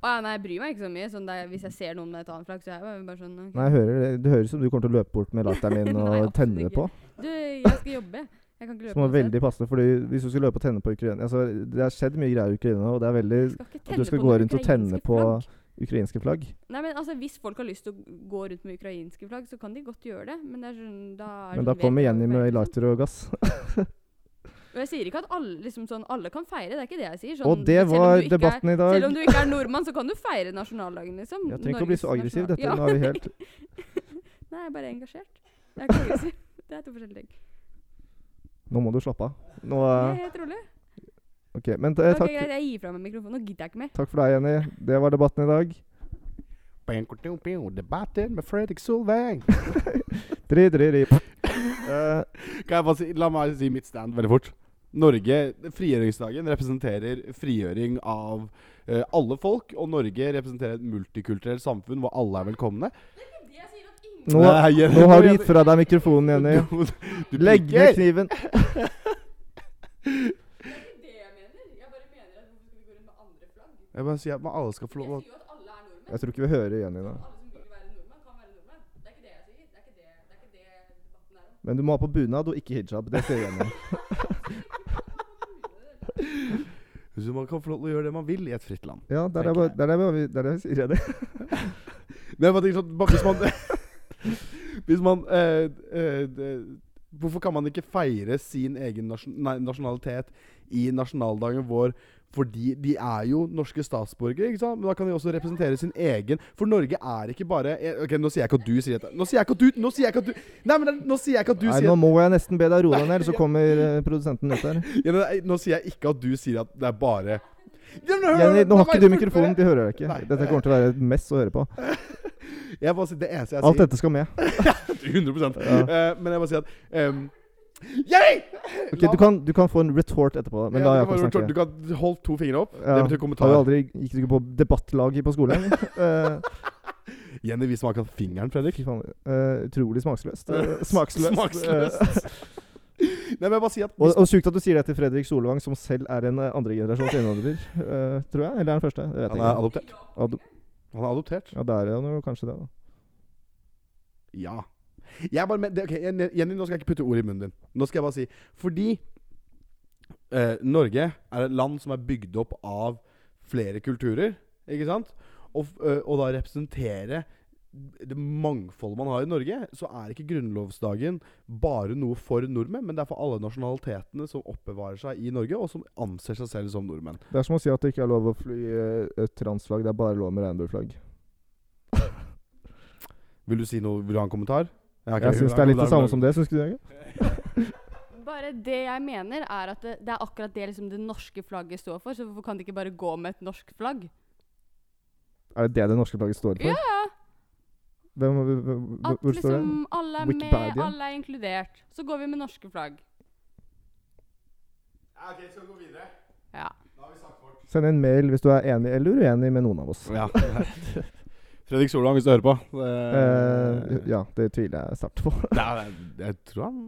Speaker 3: Å ja, nei, jeg bryr meg ikke så mye. Sånn det, er- hvis jeg ser noen med et annet flagg, så er jeg bare sånn ok.
Speaker 1: Nei, jeg hører, det- det høres ut som du kommer til å løpe bort med latteren din
Speaker 3: Nei,
Speaker 1: og
Speaker 3: absolutt
Speaker 1: tenne det på.
Speaker 3: Du, jeg skal jobbe. Jeg kan ikke løpe
Speaker 1: Som var
Speaker 3: noe sted.
Speaker 1: veldig passende, fordi hvis du skal løpe og tenne på Ukraina altså, Det har skjedd mye greier i Ukraina, og det er veldig
Speaker 3: skal ikke
Speaker 1: du
Speaker 3: tenne
Speaker 1: skal
Speaker 3: på
Speaker 1: gå
Speaker 3: noen
Speaker 1: rundt og
Speaker 3: ukrainske
Speaker 1: tenne på-
Speaker 3: flagg.
Speaker 1: ukrainske flagg.
Speaker 3: Nei, men altså, Hvis folk har lyst til å gå rundt med ukrainske flagg, så kan de godt gjøre det. Men det er sånn, da er
Speaker 1: Men
Speaker 3: sånn,
Speaker 1: da
Speaker 3: vet
Speaker 1: kommer
Speaker 3: jeg hva
Speaker 1: Jenny
Speaker 3: vi
Speaker 1: med
Speaker 3: feirer, liksom.
Speaker 1: lighter og gass.
Speaker 3: Og Jeg sier ikke at alle, liksom, sånn, alle kan feire, det er ikke det jeg sier. Sånn,
Speaker 1: Og det
Speaker 3: selv om
Speaker 1: var
Speaker 3: du ikke er-
Speaker 1: debatten i dag.
Speaker 3: Selv om du ikke er nordmann, så kan du feire nasjonaldagen, liksom.
Speaker 1: Jeg trenger ikke å bli
Speaker 3: Norges
Speaker 1: så aggressiv.
Speaker 3: nasjonal-
Speaker 1: Dette,
Speaker 3: Ja.
Speaker 1: nå er vi helt
Speaker 3: Nei, jeg er bare engasjert. Jeg er ikke aggressiv. Det er to forskjellige ting.
Speaker 1: Nå må du slappe av. Nå
Speaker 3: Det
Speaker 1: eh,
Speaker 3: er helt rolig.
Speaker 1: OK. Men eh,
Speaker 3: Ok,
Speaker 1: takk,
Speaker 3: greit, jeg gir fra meg mikrofonen. Nå gidder jeg ikke mer.
Speaker 1: takk for deg, Jenny. Det var debatten i dag.
Speaker 2: Debatten med Fredrik Solveig.
Speaker 1: Dri, dri, dri. Eh,
Speaker 2: Kan jeg bare si, la meg si mitt stand veldig fort. Norge, Frigjøringsdagen representerer frigjøring av eh, alle folk, og Norge representerer et multikulturelt samfunn hvor alle er velkomne.
Speaker 1: nå,
Speaker 2: Nei, Jenny,
Speaker 1: nå har du
Speaker 2: Jenny.
Speaker 1: gitt fra deg mikrofonen, Jenny.
Speaker 2: Du, du
Speaker 1: Legg ned
Speaker 2: piker.
Speaker 1: kniven.
Speaker 2: Jeg bare sier at man alle skal få lov å
Speaker 1: Jeg tror ikke vi hører Jenny nå. Men du må ha på bunad og ikke hijab. Det sier Jenny.
Speaker 2: Så Man kan få lov til å gjøre det man vil i et fritt land.
Speaker 1: Ja, der er bare- der er bare vi der er vi sier Jenny.
Speaker 2: Men jeg bare tenker sånn bare Hvis man, hvis man eh, eh, det- Hvorfor kan man ikke feire sin egen nasjon, nei, nasjonalitet i nasjonaldagen vår? Fordi de er jo norske statsborgere, ikke sant? men da kan de også representere sin egen For Norge er ikke bare eh, Ok, Nå sier jeg ikke at du sier dette. Nå sier jeg ikke at du Nå sier jeg ikke at du Nei, men nå sier jeg ikke at du
Speaker 1: Nei,
Speaker 2: sier
Speaker 1: nå må jeg nesten be deg roe deg ned, så kommer eh, produsenten ut der.
Speaker 2: Ja, nei, Nå sier jeg ikke at du sier at det er bare Ja, men hør-
Speaker 1: Jenny, nå
Speaker 2: la
Speaker 1: har
Speaker 2: meg
Speaker 1: ikke du
Speaker 2: fullføre.
Speaker 1: mikrofonen. De hører deg
Speaker 2: Nei.
Speaker 1: ikke. Dette kommer til å være et mess å høre på.
Speaker 2: Jeg bare sier Det eneste jeg
Speaker 1: Alt
Speaker 2: sier
Speaker 1: dette skal med.
Speaker 2: 100
Speaker 1: Ja.
Speaker 2: Eh, Men jeg bare sier at ehm, Jenny!
Speaker 1: Ok,
Speaker 2: La
Speaker 1: du, kan, du kan få en retort etterpå, men
Speaker 2: Ja,
Speaker 1: la
Speaker 2: du
Speaker 1: Jakob
Speaker 2: kan bare-
Speaker 1: snakke.
Speaker 2: Du kan holde to fingre opp.
Speaker 1: Ja.
Speaker 2: Det betyr
Speaker 1: Har du
Speaker 2: kommentar.
Speaker 1: aldri, gikk du ikke på debattlag på skolen? Eh,
Speaker 2: Jenny, vis meg akkurat fingeren, Fredrik.
Speaker 1: Eh, fy faen, eh, utrolig smaksløst. Eh, smaksløst.
Speaker 2: Smaksløst. Nei, men jeg bare sier at
Speaker 1: Og,
Speaker 2: hvis,
Speaker 1: og sjukt at du sier det til Fredrik Solvang, som selv er en eh, andregenerasjons innvandrer, eh, tror jeg. Eller er han første? Det vet
Speaker 2: han
Speaker 1: jeg
Speaker 2: er
Speaker 1: ikke.
Speaker 2: adoptert.
Speaker 1: Ad
Speaker 2: Han er adoptert.
Speaker 1: ja, der er han jo kanskje det, da.
Speaker 2: Ja. Jeg bare, men, det, ok, Jen- Jenny, nå skal jeg ikke putte ord i munnen din. Nå skal jeg bare si Fordi eh, Norge er et land som er bygd opp av flere kulturer, ikke sant? Og, f- eh, og da representere det mangfoldet man har i Norge, så er ikke grunnlovsdagen bare noe for nordmenn, men det er for alle nasjonalitetene som oppbevarer seg i Norge, og som anser seg selv som nordmenn.
Speaker 1: Det er som å si at det ikke er lov å fly uh, transflagg, det er bare lov med regnbueflagg.
Speaker 2: Vil du si noe? Vil du ha en kommentar? Ja,
Speaker 1: Jeg
Speaker 2: ok, hun
Speaker 1: syns
Speaker 2: har
Speaker 1: det er litt det
Speaker 2: kommentar,
Speaker 1: samme
Speaker 2: hun
Speaker 1: som det, syns ikke du, Jørgen?
Speaker 3: Bare det jeg mener, er at det, det er akkurat det liksom det norske flagget står for. Så hvorfor kan de ikke bare gå med et norsk flagg?
Speaker 1: Er det det det norske flagget står for?
Speaker 3: Ja, ja.
Speaker 1: Hvem, hvem, hvem,
Speaker 3: At
Speaker 1: hvor står det?
Speaker 3: liksom alle er med,
Speaker 1: Wikipedia?
Speaker 3: alle er inkludert. Så går vi med norske flagg.
Speaker 2: Ja, ok, skal vi gå videre?
Speaker 3: Ja.
Speaker 2: Da har vi sagt vårt.
Speaker 1: Send en mail hvis du er enig eller uenig med noen av oss.
Speaker 2: Ja. Fredrik Solvang, hvis du hører på.
Speaker 1: Eh,
Speaker 2: Eh,
Speaker 1: ja, det tviler jeg sterkt på.
Speaker 2: det er, jeg tror han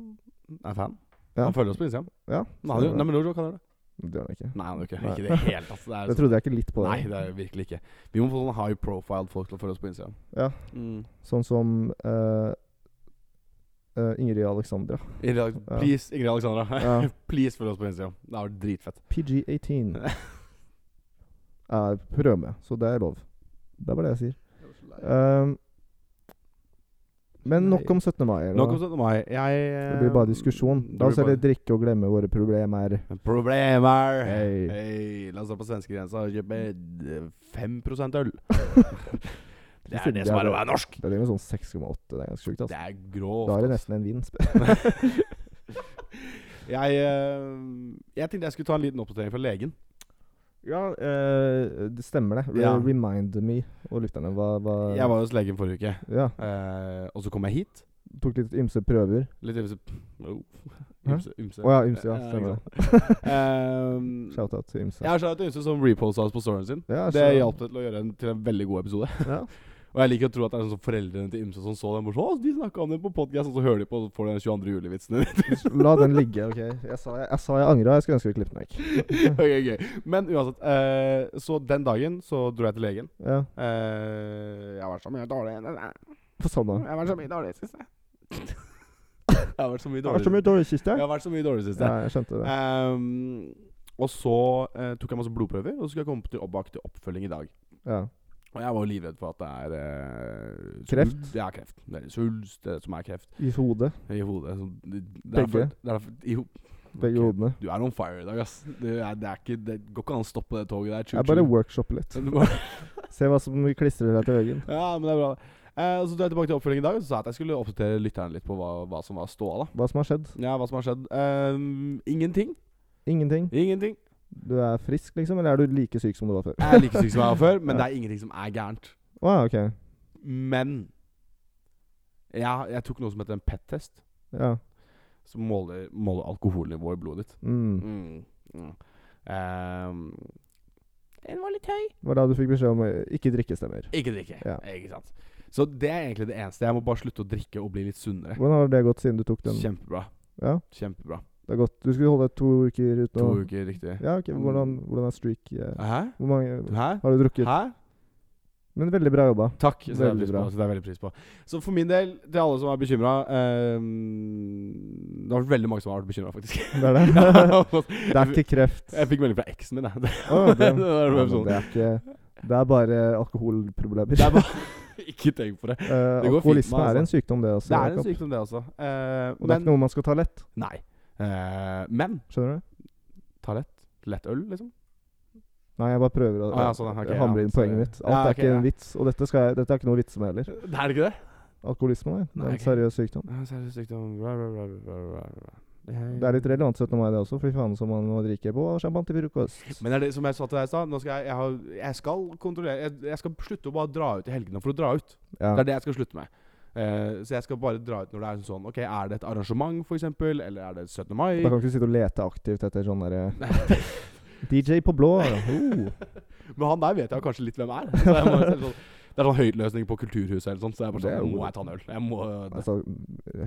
Speaker 2: er fan.
Speaker 1: Ja.
Speaker 2: Han følger oss på Instagram.
Speaker 1: ja,
Speaker 2: Men han,
Speaker 1: så-
Speaker 2: nei, men Nordjoe kan gjøre det.
Speaker 1: det gjør han ikke.
Speaker 2: Nei, han gjør ikke
Speaker 1: Nei.
Speaker 2: Ikke i det hele tatt. Det er
Speaker 1: Det
Speaker 2: så,
Speaker 1: trodde jeg ikke litt på.
Speaker 2: nei, det er virkelig ikke. Vi må få sånne high profile folk til å følge oss på Instagram.
Speaker 1: Ja.
Speaker 2: Mm.
Speaker 1: Sånn som eh, eh, Ingrid Alexandra.
Speaker 2: Ingrid, Alek-
Speaker 1: Ja.
Speaker 2: please, Ingrid Alexandra.
Speaker 1: Ja.
Speaker 2: please følg oss på Instagram. Det har vært dritfett.
Speaker 1: PG18 er prøve med, så det er lov. Det er bare det jeg sier. Ehm, men nok om 17. mai. Eller?
Speaker 2: Nok om
Speaker 1: hva?
Speaker 2: 17. mai. Jeg eh,
Speaker 1: det blir bare diskusjon.
Speaker 2: det
Speaker 1: La oss
Speaker 2: blir
Speaker 1: heller
Speaker 2: bare-
Speaker 1: drikke og glemme våre problemer.
Speaker 2: Problemer!
Speaker 1: Hei.
Speaker 2: Hei. La oss dra på svenskegrensa og kjøpe eh, 5 øl. Det er
Speaker 1: Siden
Speaker 2: det som er å
Speaker 1: det.
Speaker 2: være norsk.
Speaker 1: Det er med sånn 6,8. Det er ganske sjukt. Altså.
Speaker 2: Det
Speaker 1: Da
Speaker 2: er
Speaker 1: er
Speaker 2: grovt.
Speaker 1: det nesten en vin.
Speaker 2: Jeg, eh, jeg tenkte jeg skulle ta en liten oppdatering fra legen.
Speaker 1: ja, eh, det stemmer det. Re
Speaker 2: Ja.
Speaker 1: Remind me og lytterne hva, hva
Speaker 2: Jeg var hos legen forrige uke,
Speaker 1: Ja,
Speaker 2: eh, og så kom jeg hit.
Speaker 1: Tok litt ymse prøver.
Speaker 2: Litt ymse oh,
Speaker 1: Hæ?
Speaker 2: Ymse. ymse. Eh,
Speaker 1: Å ja, ymse. Ja, stemmer det.
Speaker 2: det.
Speaker 1: Shout-out til ymse.
Speaker 2: Ehm, Jeg har skjønt ymse som reposta oss på storyen sin.
Speaker 1: Ja,
Speaker 2: Det
Speaker 1: så-
Speaker 2: hjalp det til å gjøre en, til en veldig god episode.
Speaker 1: Ja.
Speaker 2: Og jeg liker å tro at det er sånn som foreldrene til ymse som så den. Bare, sånn, «Å, de snakka om det på podkast, og så hører de på og så får de den 22. juli-vitsen.
Speaker 1: La den ligge, OK? Jeg sa jeg, jeg, sa jeg angra. Jeg skulle ønske vi klippet den vekk.
Speaker 2: Ok, ok. Men uansett. eh, så den dagen så dro jeg til legen.
Speaker 1: Ja.
Speaker 2: Eh, jeg har vært så mye dårlig Jeg
Speaker 1: For sånn, da.
Speaker 2: har vært så mye dårlig sist jeg. Jeg har vært så mye
Speaker 1: Det er så
Speaker 2: dårlig
Speaker 1: mye dårlig kiste.
Speaker 2: Jeg har vært så mye dårlig sist
Speaker 1: Ja,
Speaker 2: jeg.
Speaker 1: jeg skjønte det.
Speaker 2: Ehm, og så eh, tok jeg masse blodprøver, og så skulle jeg komme til Oppbak til oppfølging i dag.
Speaker 1: Ja.
Speaker 2: Og jeg var jo livredd for at det er eh,
Speaker 1: Kreft?
Speaker 2: svulst- Ja, kreft. Det er svulst det er det som er kreft
Speaker 1: I hodet.
Speaker 2: i hodet. Så det- det
Speaker 1: Begge?
Speaker 2: er derfor- det er derfor- i ho-
Speaker 1: Begge
Speaker 2: Ok.
Speaker 1: hodene.
Speaker 2: Du er on fire i dag, ass. Det, er, det, er ikke, det går ikke an å stoppe det toget der.
Speaker 1: Jeg
Speaker 2: Choo-choo.
Speaker 1: bare workshopper litt.
Speaker 2: Du bare-
Speaker 1: Se hva som klistrer seg til veggen.
Speaker 2: Ja, men det er bra. Eh, og så dro jeg tilbake til oppfølging i dag og så sa jeg at jeg skulle oppdatere lytterne litt på hva, hva som var ståa. da
Speaker 1: Hva som har skjedd.
Speaker 2: Ja, hva som har skjedd. Ehm, ingenting.
Speaker 1: Ingenting.
Speaker 2: Ingenting.
Speaker 1: Du er frisk, liksom? Eller er du like syk som du var før?
Speaker 2: Jeg er like syk som jeg var før, men det er ingenting som er gærent.
Speaker 1: Å ja, OK.
Speaker 2: Men jeg, jeg tok noe som heter en PET-test,
Speaker 1: Ja.
Speaker 2: som måler, måler alkoholnivået i blodet ditt.
Speaker 1: Mm.
Speaker 2: Mm. Mm. Ehm, den var litt høy.
Speaker 1: Det var da du fikk beskjed om å ikke drikke stemmer.
Speaker 2: Ikke drikke.
Speaker 1: Ja.
Speaker 2: Ikke sant. Så det er egentlig det eneste. Jeg må bare slutte å drikke og bli litt sunnere.
Speaker 1: Hvordan har det gått siden du tok den?
Speaker 2: Kjempebra.
Speaker 1: Ja,
Speaker 2: Kjempebra.
Speaker 1: det er godt. Du skulle holde deg to uker uten
Speaker 2: To
Speaker 1: å
Speaker 2: uker riktig.
Speaker 1: Ja, ok. Hvordan, hvordan er streak eh,
Speaker 2: Hæ?
Speaker 1: Hvor mange
Speaker 2: Hæ?
Speaker 1: har du drukket?
Speaker 2: Hæ?
Speaker 1: Men veldig bra jobba.
Speaker 2: Takk. Så det, er
Speaker 1: Veldig
Speaker 2: pris på,
Speaker 1: bra.
Speaker 2: så det er veldig pris på. Så for min del, til alle som er bekymra Det har vært veldig mange som har vært bekymra, faktisk.
Speaker 1: Det er det. det er ikke kreft.
Speaker 2: jeg fikk melding fra eksen min, jeg.
Speaker 1: Å, det,
Speaker 2: Det var
Speaker 1: ja, men
Speaker 2: sånn.
Speaker 1: det er ikke Det er bare alkoholproblemer.
Speaker 2: Det er bare Ikke tenk på det.
Speaker 1: Eh,
Speaker 2: fint med,
Speaker 1: alkoholisme er
Speaker 2: altså.
Speaker 1: en sykdom, det også.
Speaker 2: Det er en
Speaker 1: Jakob.
Speaker 2: sykdom, det også.
Speaker 1: Og
Speaker 2: Eh,
Speaker 1: det er
Speaker 2: men
Speaker 1: ikke noe man skal ta lett.
Speaker 2: Nei. Eh, men
Speaker 1: Skjønner du?
Speaker 2: ta lett. Lett øl, liksom.
Speaker 1: Nei, jeg bare prøver å
Speaker 2: Å, ja, sånn, ok,
Speaker 1: hamre
Speaker 2: ja,
Speaker 1: inn
Speaker 2: sorry.
Speaker 1: poenget mitt. Alt
Speaker 2: Ja,
Speaker 1: er
Speaker 2: ok,
Speaker 1: ikke
Speaker 2: ja.
Speaker 1: en vits, og dette, skal jeg, dette er ikke noe vits med heller.
Speaker 2: Det er ikke det?
Speaker 1: Alkoholisme nei. det
Speaker 2: Nei,
Speaker 1: er
Speaker 2: ok.
Speaker 1: en seriøs sykdom.
Speaker 2: Ja, Seriøs sykdom Bla, bla, bla, bla, bla, bla.
Speaker 1: Det er litt relevant 17. mai, det også. Fy faen som man må drikke på champagne til frokost.
Speaker 2: Men det er det som jeg sa til deg i stad. Nå skal jeg, jeg, har, jeg skal kontrollere jeg, jeg skal slutte å bare dra ut i helgene for å dra ut.
Speaker 1: Ja.
Speaker 2: Det er det jeg skal slutte med. Eh, så jeg skal bare dra ut når det er sånn Ok, er det et arrangement, f.eks.? Eller er det 17. mai?
Speaker 1: Da kan du ikke sitte og lete aktivt etter sånn derre DJ på blå. Oh.
Speaker 2: Men han der vet jeg jo kanskje litt hvem er. Så jeg må, sånn, det er sånn høytløsning på Kulturhuset eller sånt, så jeg bare
Speaker 1: Det er
Speaker 2: sånn
Speaker 1: jo-
Speaker 2: Må jeg ta en øl? Jeg må
Speaker 1: Altså,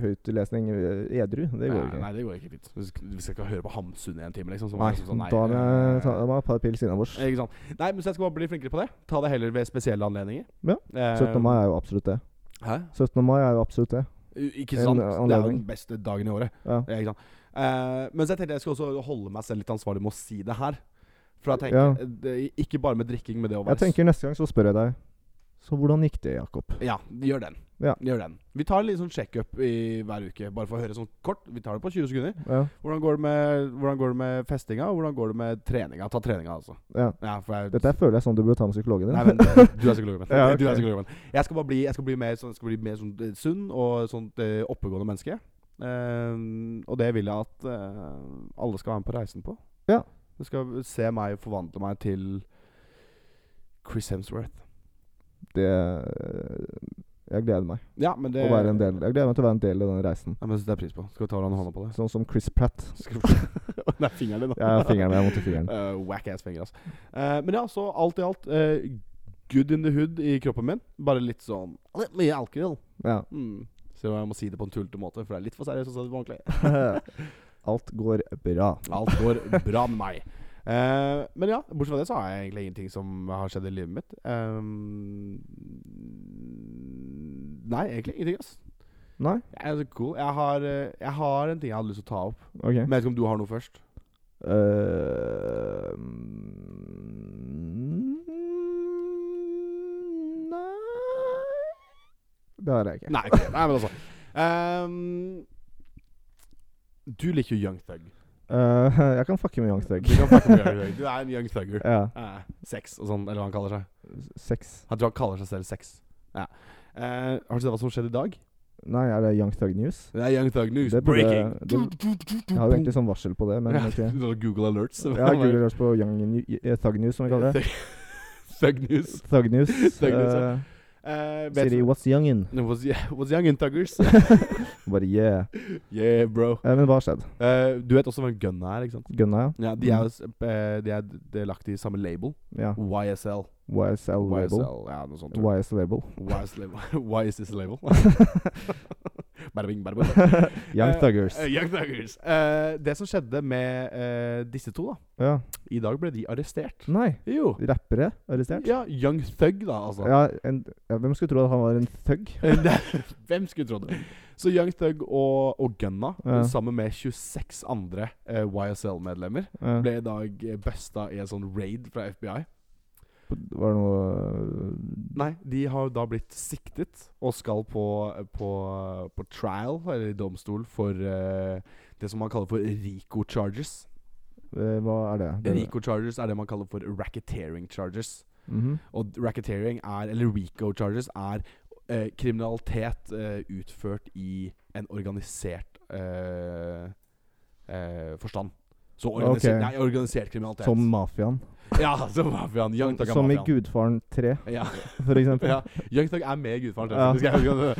Speaker 1: høytlesning eh, edru. Det går
Speaker 2: Nei,
Speaker 1: ikke.
Speaker 2: nei, det går ikke fint. Vi sk- Vi skal ikke høre på Hamsun i en time, liksom. så
Speaker 1: Nei,
Speaker 2: man liksom sånn, nei,
Speaker 1: da må jeg ta
Speaker 2: eh,
Speaker 1: da må jeg ha et par pils innabords.
Speaker 2: Ikke sant. Nei, men så jeg skal bare bli flinkere på det. Ta det heller ved spesielle anledninger.
Speaker 1: Ja.
Speaker 2: Eh,
Speaker 1: 17. mai er jo absolutt det.
Speaker 2: Hæ?
Speaker 1: 17. mai er jo absolutt det.
Speaker 2: U- Ikke
Speaker 1: En
Speaker 2: sant? Det er jo
Speaker 1: anledning.
Speaker 2: den beste dagen i året.
Speaker 1: Ja.
Speaker 2: Ja, ikke sant? Eh, men så jeg tenkte jeg skulle også holde meg selv litt ansvarlig med å si det her. For jeg
Speaker 1: Ja.
Speaker 2: tenker, det, Ikke bare med drikking, men det å være
Speaker 1: Jeg tenker neste gang så spør jeg deg Så hvordan gikk det, Jakob?
Speaker 2: Ja, gjør den.
Speaker 1: Ja.
Speaker 2: Gjør den. Vi tar en liten sånn sjekkup i hver uke, bare for å høre sånn kort. Vi tar det på 20 sekunder.
Speaker 1: Ja,
Speaker 2: Hvordan går det med, hvordan går det med festinga, og hvordan går det med treninga? Ta treninga, altså.
Speaker 1: ja.
Speaker 2: Ja, for jeg,
Speaker 1: Dette her føler jeg sånn du burde ta med psykologen din.
Speaker 2: Nei, vent, du er psykologen min.
Speaker 1: Ja, ok.
Speaker 2: Du er psykologen min. Jeg skal bare bli, jeg skal bli mer, sånn, jeg skal bli mer sånn, eh, sunn og sånt eh, oppegående menneske. Ehm, og det vil jeg at eh, alle skal være med på reisen på.
Speaker 1: Ja.
Speaker 2: Du skal se meg forvandle meg til Chris Hemsworth.
Speaker 1: Det eh, Jeg gleder meg
Speaker 2: Ja, men det
Speaker 1: å være en del Jeg gleder meg til å være en del av den reisen.
Speaker 2: Ja, men det setter jeg pris på. Skal vi ta hverandre hånda på det?
Speaker 1: Sånn som Chris Pratt.
Speaker 2: Skal vi- Nei, fingeren din, da.
Speaker 1: Jeg har fingeren, men jeg måtte fingeren.
Speaker 2: Eh, whack ass finger, altså. Eh, men ja, så alt i alt eh, good in the hood i kroppen min. Bare litt sånn litt mye alkohol.
Speaker 1: Ja.
Speaker 2: Mm. Så jeg må si det på en tullete måte, for det er litt for seriøst. å si det på ordentlig.
Speaker 1: Alt går bra.
Speaker 2: Alt går bra med meg. Eh, men ja, bortsett fra det så har jeg egentlig ingenting som har skjedd i livet mitt. Eh, nei, egentlig ingenting. ass
Speaker 1: Nei?
Speaker 2: Jeg er så cool. jeg, har, eh, jeg har en ting jeg hadde lyst til å ta opp.
Speaker 1: Ok.
Speaker 2: Men jeg vet ikke om du har noe først?
Speaker 1: Eh, mm, Nei Det har jeg ikke.
Speaker 2: Nei, ok. nei men altså Ehm, Du liker jo Young Thug.
Speaker 1: Eh, jeg kan fucke med Young Thug.
Speaker 2: Du kan snakke om Young Thug. Du er en Young Thugger.
Speaker 1: Ja.
Speaker 2: Eh, sex og sånn, eller hva han kaller seg.
Speaker 1: Sex.
Speaker 2: Han tror han kaller seg selv sex. Ja. Eh, har du sett hva som skjedde i dag?
Speaker 1: Nei, er det Young Thug News?
Speaker 2: Det er Young Thug News.
Speaker 1: Det burde-
Speaker 2: Breaking!
Speaker 1: det- Jeg har jo egentlig sånn varsel på det, men
Speaker 2: Ja,
Speaker 1: ok.
Speaker 2: sånn Google alerts.
Speaker 1: Jeg har googlet oss på Young New- eh, Thug News, som vi kaller det.
Speaker 2: Thug News.
Speaker 1: Thug News.
Speaker 2: Thug News,
Speaker 1: eh,
Speaker 2: Eh, vet
Speaker 1: Siri,
Speaker 2: du-
Speaker 1: what's youngin?
Speaker 2: No, was, yeah, was young in Thuggers?
Speaker 1: Bare yeah.
Speaker 2: yeah, bro.
Speaker 1: Eh, men hva har skjedd?
Speaker 2: Eh, du vet også hvem Gunna er, ikke sant?
Speaker 1: Gunna,
Speaker 2: Ja, De er, jo s- eh, de er, de er lagt i samme label.
Speaker 1: ja.
Speaker 2: YSL.
Speaker 1: YSL label.
Speaker 2: YSL, ja, noe sånt. tror jeg.
Speaker 1: YSL label.
Speaker 2: Why is label? Why is this label? bada bing, bada boom.
Speaker 1: Young
Speaker 2: Eh,
Speaker 1: Thuggers.
Speaker 2: Eh, Young Thuggers. Eh, det som skjedde med eh, disse to, da
Speaker 1: Ja.
Speaker 2: I dag ble de arrestert.
Speaker 1: Nei,
Speaker 2: Jo.
Speaker 1: rappere arrestert?
Speaker 2: Ja, Young Thug, da, altså.
Speaker 1: Ja, en, ja, hvem skulle tro at han var en thug?
Speaker 2: Eh, det- Hvem skulle trodd det? Så Young Thug og, og Gunna,
Speaker 1: Ja.
Speaker 2: sammen med 26 andre eh, YSL-medlemmer,
Speaker 1: Ja.
Speaker 2: ble i dag eh, busta i en sånn raid fra FBI.
Speaker 1: Var det noe
Speaker 2: Nei, de har da blitt siktet og skal på, på, på trial, eller i domstol, for eh, det som man kaller for RICO charges.
Speaker 1: eh, Hva er det? det
Speaker 2: RICO charges er det man kaller for racketeering charges.
Speaker 1: Mhm.
Speaker 2: Og racketeering er, eller RICO charges er eh, kriminalitet eh, utført i en organisert eh, eh, forstand. Så
Speaker 1: Ok.
Speaker 2: organisert, nei, organisert kriminalitet.
Speaker 1: Som mafiaen.
Speaker 2: Ja, som mafiaen. Young Thug er
Speaker 1: Som i
Speaker 2: mafiaen.
Speaker 1: Gudfaren 3,
Speaker 2: Ja.
Speaker 1: for eksempel.
Speaker 2: Ja, Young Thug er med i Gudfaren.
Speaker 1: Ja.
Speaker 2: Ja.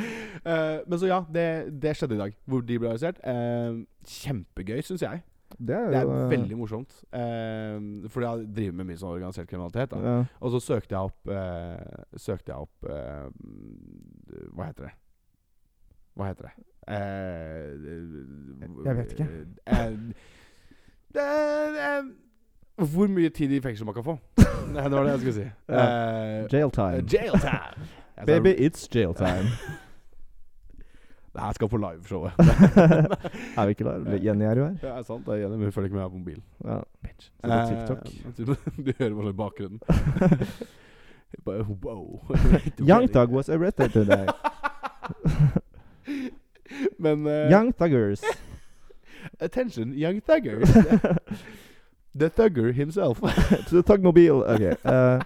Speaker 2: Eh, men så ja, det, det skjedde i dag, hvor de ble arrestert. Eh, kjempegøy, syns jeg.
Speaker 1: Det er
Speaker 2: Det er
Speaker 1: jo eh,
Speaker 2: veldig morsomt. Uh, fordi jeg driver med mye sånn organisert kriminalitet. Da.
Speaker 1: ja.
Speaker 2: Og så søkte jeg opp eh, Søkte jeg opp eh, Hva heter det? Hva heter det? Eh,
Speaker 1: Jeg vet ikke.
Speaker 2: eh, det er, eh, hvor mye tid i fengsel man kan få. Nei, det var det jeg skulle si. Eh,
Speaker 1: Jail time.
Speaker 2: Eh, Jail time. Jeg sa-
Speaker 1: Baby, it's jail time.
Speaker 2: Det her skal på liveshowet.
Speaker 1: er vi ikke der? Jenny er jo her.
Speaker 2: Det er sant. Det er enig, men hun følger ikke med her på mobilen.
Speaker 1: Ja. Se på TikTok.
Speaker 2: Eh, du, du hører bare sånn bakgrunnen. Bare, wow.
Speaker 1: Young Thug was arrested today.
Speaker 2: Men eh,
Speaker 1: Young Thuggers.
Speaker 2: Attention, young thugger. The thugger himself.
Speaker 1: To the Thugmobile. Ok. eh,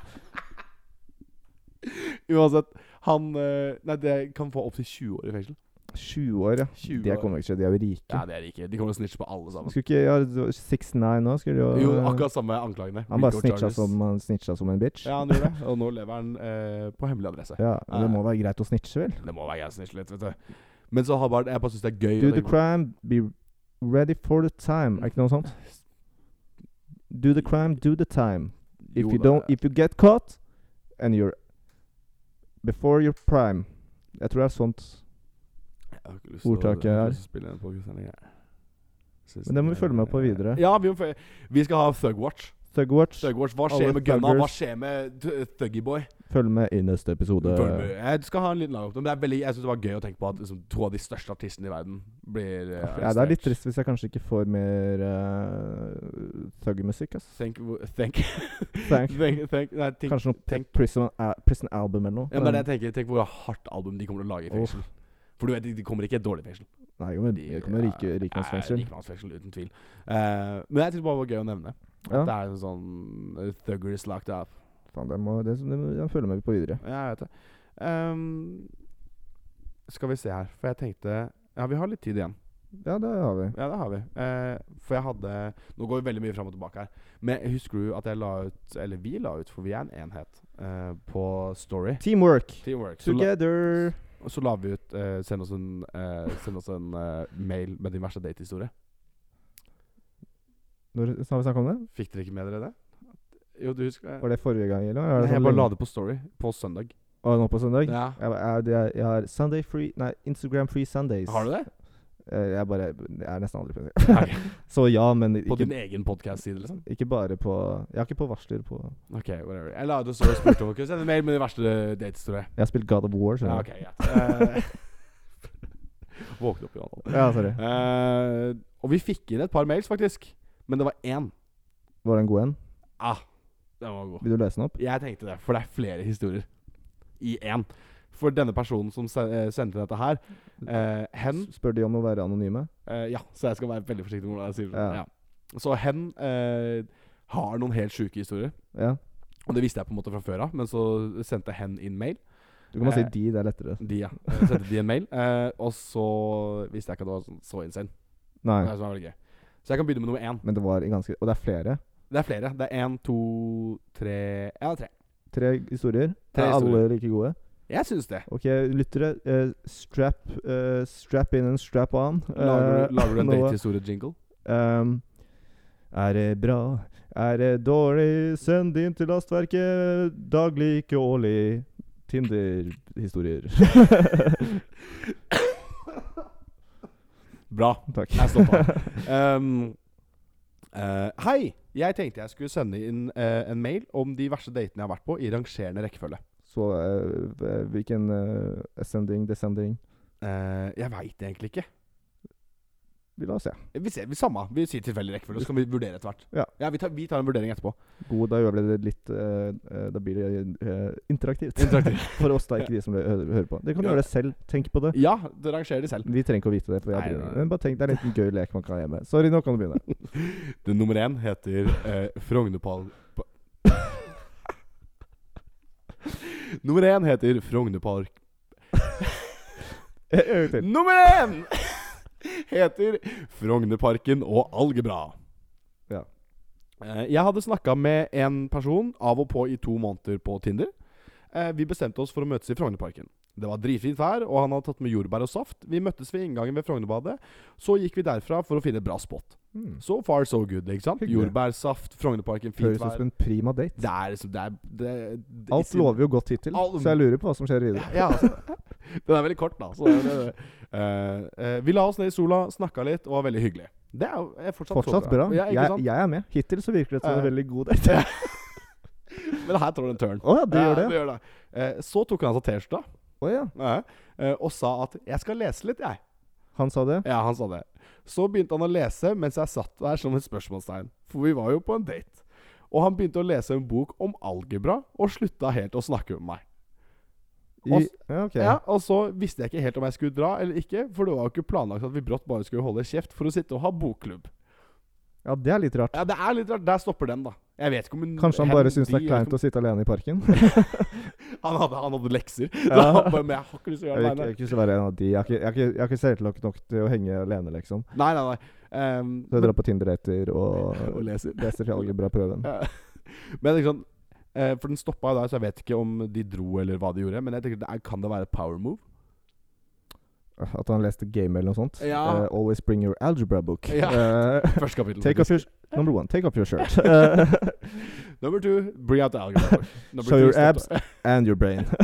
Speaker 2: Uansett, han eh, Nei, det kan få opptil 20 år i fengsel.
Speaker 1: 20 år, ja.
Speaker 2: 20
Speaker 1: Det
Speaker 2: år.
Speaker 1: kommer jo ikke til å skje. De er jo rike.
Speaker 2: Ja, det er det ikke. De kommer til å snitche på alle sammen.
Speaker 1: Skulle ikke ja, 69 nå? Skulle jo,
Speaker 2: Jo, akkurat samme anklagene.
Speaker 1: Han bare
Speaker 2: Rico
Speaker 1: snitcha
Speaker 2: charges.
Speaker 1: som, han snitcha som en bitch.
Speaker 2: Ja, han gjorde det. Og nå lever han eh, på hemmelig adresse.
Speaker 1: Ja, men Det må være greit å snitche, vel?
Speaker 2: Det må være jeg som snitcher litt, vet du. Men så har bare, jeg bare syns det er gøy.
Speaker 1: Do
Speaker 2: å
Speaker 1: the
Speaker 2: tenke på.
Speaker 1: crime, be ready for the time. Er ikke noe sånt? Do the crime, do the time. If
Speaker 2: Jo
Speaker 1: you
Speaker 2: da,
Speaker 1: don't,
Speaker 2: ja.
Speaker 1: if you get caught, and you're before your prime. Jeg tror det er sånt.
Speaker 2: Jeg har ikke lyst
Speaker 1: Ordtaket
Speaker 2: til å, jeg har
Speaker 1: er-
Speaker 2: ikke lyst til å spille den podcasten lenger. Synes
Speaker 1: Men det må
Speaker 2: den
Speaker 1: vi følge med
Speaker 2: er-
Speaker 1: på videre.
Speaker 2: Ja, vi, må følge- vi skal ha Thugwatch.
Speaker 1: Thugwatch,
Speaker 2: Thugwatch. Hva
Speaker 1: Alle
Speaker 2: skjer med Gunna? Hva
Speaker 1: thuggers.
Speaker 2: skjer med Thuggyboy?
Speaker 1: følg med i neste episode.
Speaker 2: Jeg skal ha en liten lang oppdatering. men det er veldig- Jeg syns det var gøy å tenke på at liksom, to av de største artistene i verden blir eh,
Speaker 1: Ja, det er litt
Speaker 2: arrestert.
Speaker 1: trist hvis jeg kanskje ikke får mer uh, thug-musikk. ass.
Speaker 2: Thank, thank,
Speaker 1: Thank.
Speaker 2: thank, thank Nei, tenk,
Speaker 1: Kanskje noe
Speaker 2: tenk-
Speaker 1: prison, al- prison album eller noe.
Speaker 2: ja, men det jeg tenker, tenk hvor hardt album de kommer til å lage i
Speaker 1: Uff.
Speaker 2: fengsel. For du vet, de- de kommer ikke i et dårlig fengsel.
Speaker 1: Nei, jo, men
Speaker 2: De
Speaker 1: det kommer rike,
Speaker 2: er-
Speaker 1: rikmannsfengsel.
Speaker 2: er Rikmannsfengsel, uten tvil. Eh, men jeg synes bare det var gøy å nevne.
Speaker 1: Ja.
Speaker 2: Det er en sånn eh, thuggers locked up.
Speaker 1: Faen, det må, det, det må, jeg følger med på videre.
Speaker 2: Ja, jeg vet det. Ehm, skal vi se her, for jeg tenkte Ja, vi har litt tid igjen.
Speaker 1: Ja, det har vi.
Speaker 2: Ja, det har vi. Eh, for jeg hadde Nå går vi veldig mye fram og tilbake her. Men husker du at jeg la ut Eller vi la ut, for vi er en enhet, eh, på Story.
Speaker 1: Teamwork.
Speaker 2: Teamwork. Så, la,
Speaker 1: Together.
Speaker 2: så la vi ut eh, Send oss en, eh, send oss en eh, mail med din verste datehistorie.
Speaker 1: Når har vi snakket om det?
Speaker 2: Fikk dere ikke med dere det? Jo, du husker det?
Speaker 1: Var det forrige gang, eller? Er
Speaker 2: Nei,
Speaker 1: det
Speaker 2: jeg
Speaker 1: sånn
Speaker 2: bare la
Speaker 1: lenge-
Speaker 2: det på Story på søndag.
Speaker 1: Å, nå på søndag?
Speaker 2: Ja.
Speaker 1: Jeg, jeg, jeg, jeg har Sunday free Nei, Instagram free Sundays.
Speaker 2: Har du det?
Speaker 1: Eh, Jeg bare Jeg er nesten aldri på
Speaker 2: Ok.
Speaker 1: Så ja, men
Speaker 2: På
Speaker 1: ikke,
Speaker 2: din egen podcast-side, liksom?
Speaker 1: ikke bare på Jeg har ikke på varsler på
Speaker 2: Ok, whatever. Jeg la ut og så spurte om dere kunne sende mail med din verste datehistorie.
Speaker 1: Jeg har spilt God of War,
Speaker 2: Ja,
Speaker 1: skjønner
Speaker 2: ok, greit. Eh, Våkne opp, Johan.
Speaker 1: du. Ja, sorry.
Speaker 2: Eh, og vi fikk inn et par mails, faktisk. Men det var én.
Speaker 1: Var det en god en?
Speaker 2: Ah, den var god.
Speaker 1: Vil du lese den opp?
Speaker 2: Jeg tenkte det, for det er flere historier i én. For denne personen som se- eh, sendte dette her, eh, hen
Speaker 1: S- Spør de om å være anonyme?
Speaker 2: eh, Ja, så jeg skal være veldig forsiktig med hvordan jeg sier det.
Speaker 1: Ja.
Speaker 2: Ja. Så hen eh, har noen helt sjuke historier.
Speaker 1: Ja.
Speaker 2: Og det visste jeg på en måte fra før av, men så sendte hen inn mail.
Speaker 1: Du kan bare
Speaker 2: Eh,
Speaker 1: si de, det er lettere.
Speaker 2: De, ja. Eh, Sendte de en mail. Eh, og så visste jeg ikke at det var sånn- så insane.
Speaker 1: Nei.
Speaker 2: Det er det som er veldig gøy. Så jeg kan begynne med nummer én.
Speaker 1: Men det var ganske Og det er flere.
Speaker 2: Det er flere. Det er én, to, tre Ja, tre.
Speaker 1: Tre historier.
Speaker 2: Tre
Speaker 1: er
Speaker 2: historier.
Speaker 1: alle like gode?
Speaker 2: Jeg syns det.
Speaker 1: Ok, lyttere. eh, strap, eh, strap in and strap on.
Speaker 2: Lager,
Speaker 1: Eh,
Speaker 2: du- lager du en
Speaker 1: nå-
Speaker 2: datehistorie-jingle?
Speaker 1: Ehm, er det bra? Er det dårlig? Send det inn til lastverket. Daglig, ikke årlig. Tinder-historier.
Speaker 2: Bra.
Speaker 1: Takk.
Speaker 2: Jeg stoppa. um, eh, hei! Jeg tenkte jeg skulle sende inn eh, en mail om de verste datene jeg har vært på, i rangerende rekkefølge.
Speaker 1: Så eh, eh, hvilken eh, ascending, descending?
Speaker 2: Eh, jeg veit egentlig ikke.
Speaker 1: Vi la oss se.
Speaker 2: Vi ser, vi Samme. Vi sier tilfeldig rekkefølge, så kan vi vurdere etter hvert.
Speaker 1: Ja.
Speaker 2: vi, tar, vi tar en vurdering etterpå.
Speaker 1: God, da gjør vi det litt eh, eh, Da blir det eh, interaktivt.
Speaker 2: Interaktivt.
Speaker 1: for oss, da. Ikke de som hø- hører på. Dere kan
Speaker 2: Ja.
Speaker 1: gjøre det selv. Tenk på det.
Speaker 2: Ja, det rangerer de selv.
Speaker 1: Vi trenger ikke å vite det. For jeg
Speaker 2: Nei,
Speaker 1: driver med
Speaker 2: nei, nei.
Speaker 1: det. Men bare tenk, Det er en liten gøy lek man kan ha hjemme. Sorry, nå kan du begynne.
Speaker 2: Den nummer én heter uh, Frognerpall... pa- nummer én heter Frognerpark
Speaker 1: En gang til.
Speaker 2: Nummer én heter Frognerparken og algebra.
Speaker 1: Ja.
Speaker 2: Eh, Jeg hadde snakka med en person av og på i to måneder på Tinder. Eh, Vi bestemte oss for å møtes i Frognerparken. Det var dritfint vær, og han hadde tatt med jordbær og saft. Vi møttes ved inngangen ved Frognerbadet. Så gikk vi derfra for å finne et bra spot.
Speaker 1: Mm.
Speaker 2: So far, so good. ikke sant?
Speaker 1: Hyggelig.
Speaker 2: Jordbær, saft, Frognerparken, fint
Speaker 1: Høres ut
Speaker 2: vær.
Speaker 1: som en prima date.
Speaker 2: Det er liksom det er, det, det,
Speaker 1: Alt lover jo godt hittil,
Speaker 2: Al-
Speaker 1: så jeg lurer på hva som skjer videre.
Speaker 2: Ja, altså. Den er veldig kort, da. Så det, er det. Eh, eh, vi la oss ned i sola, snakka litt og var veldig hyggelig. Det er jo er fortsatt, sånn så
Speaker 1: Fortsatt bra.
Speaker 2: Ja, ikke
Speaker 1: Jeg,
Speaker 2: sant?
Speaker 1: jeg er med. Hittil så virker det som en
Speaker 2: Ja.
Speaker 1: veldig god date.
Speaker 2: Men her tar du en turn.
Speaker 1: Å ja, det
Speaker 2: Ja,
Speaker 1: gjør det.
Speaker 2: gjør det. Eh, så tok han seg T-skjorta
Speaker 1: Å ja.
Speaker 2: eh, eh, og sa at 'jeg skal lese litt', jeg.
Speaker 1: Han sa det.
Speaker 2: Ja, han sa det. Så begynte han å lese mens jeg satt der som et spørsmålstegn. For vi var jo på en date. Og han begynte å lese en bok om algebra og slutta helt å snakke med meg.
Speaker 1: I,
Speaker 2: Oss-
Speaker 1: ja, ok.
Speaker 2: Ja, Og så visste jeg ikke helt om jeg skulle dra eller ikke, for det var jo ikke planlagt at vi brått bare skulle holde kjeft for å sitte og ha bokklubb.
Speaker 1: ja, det er litt rart.
Speaker 2: Ja, det er litt rart. Der stopper den, da. Jeg vet ikke om hun
Speaker 1: Kanskje han bare syns det er kleint å sitte alene i parken. Jeg
Speaker 2: han hadde, han hadde lekser. Så
Speaker 1: Ja.
Speaker 2: han bare, men jeg har ikke lyst til å gjøre
Speaker 1: vil
Speaker 2: det.
Speaker 1: ikke, jeg
Speaker 2: Nei,
Speaker 1: vil ikke være en av de. Jeg har ikke, jeg har ikke, jeg har ikke selvtillit nok til å henge alene, liksom.
Speaker 2: nei. nei, nei, nei. Ehm,
Speaker 1: Så jeg drar på Tinder etter
Speaker 2: men, og
Speaker 1: og
Speaker 2: leser.
Speaker 1: leser til algebraprøven.
Speaker 2: Ja. Men det er ikke sånn eh, For den stoppa jo der, så jeg vet ikke om de dro eller hva de gjorde. Men jeg tenker, det er, kan det være et power move?
Speaker 1: At han leste Game eller noe sånt.
Speaker 2: Ja.
Speaker 1: Eh, always bring your algebra book.
Speaker 2: Ja.
Speaker 1: Eh,
Speaker 2: Første kapittel.
Speaker 1: take off your Number one, take off your shirt. Eh,
Speaker 2: Number two, bring out the algebra. Number
Speaker 1: Show
Speaker 2: three,
Speaker 1: your
Speaker 2: stop
Speaker 1: abs. and your brain.
Speaker 2: the-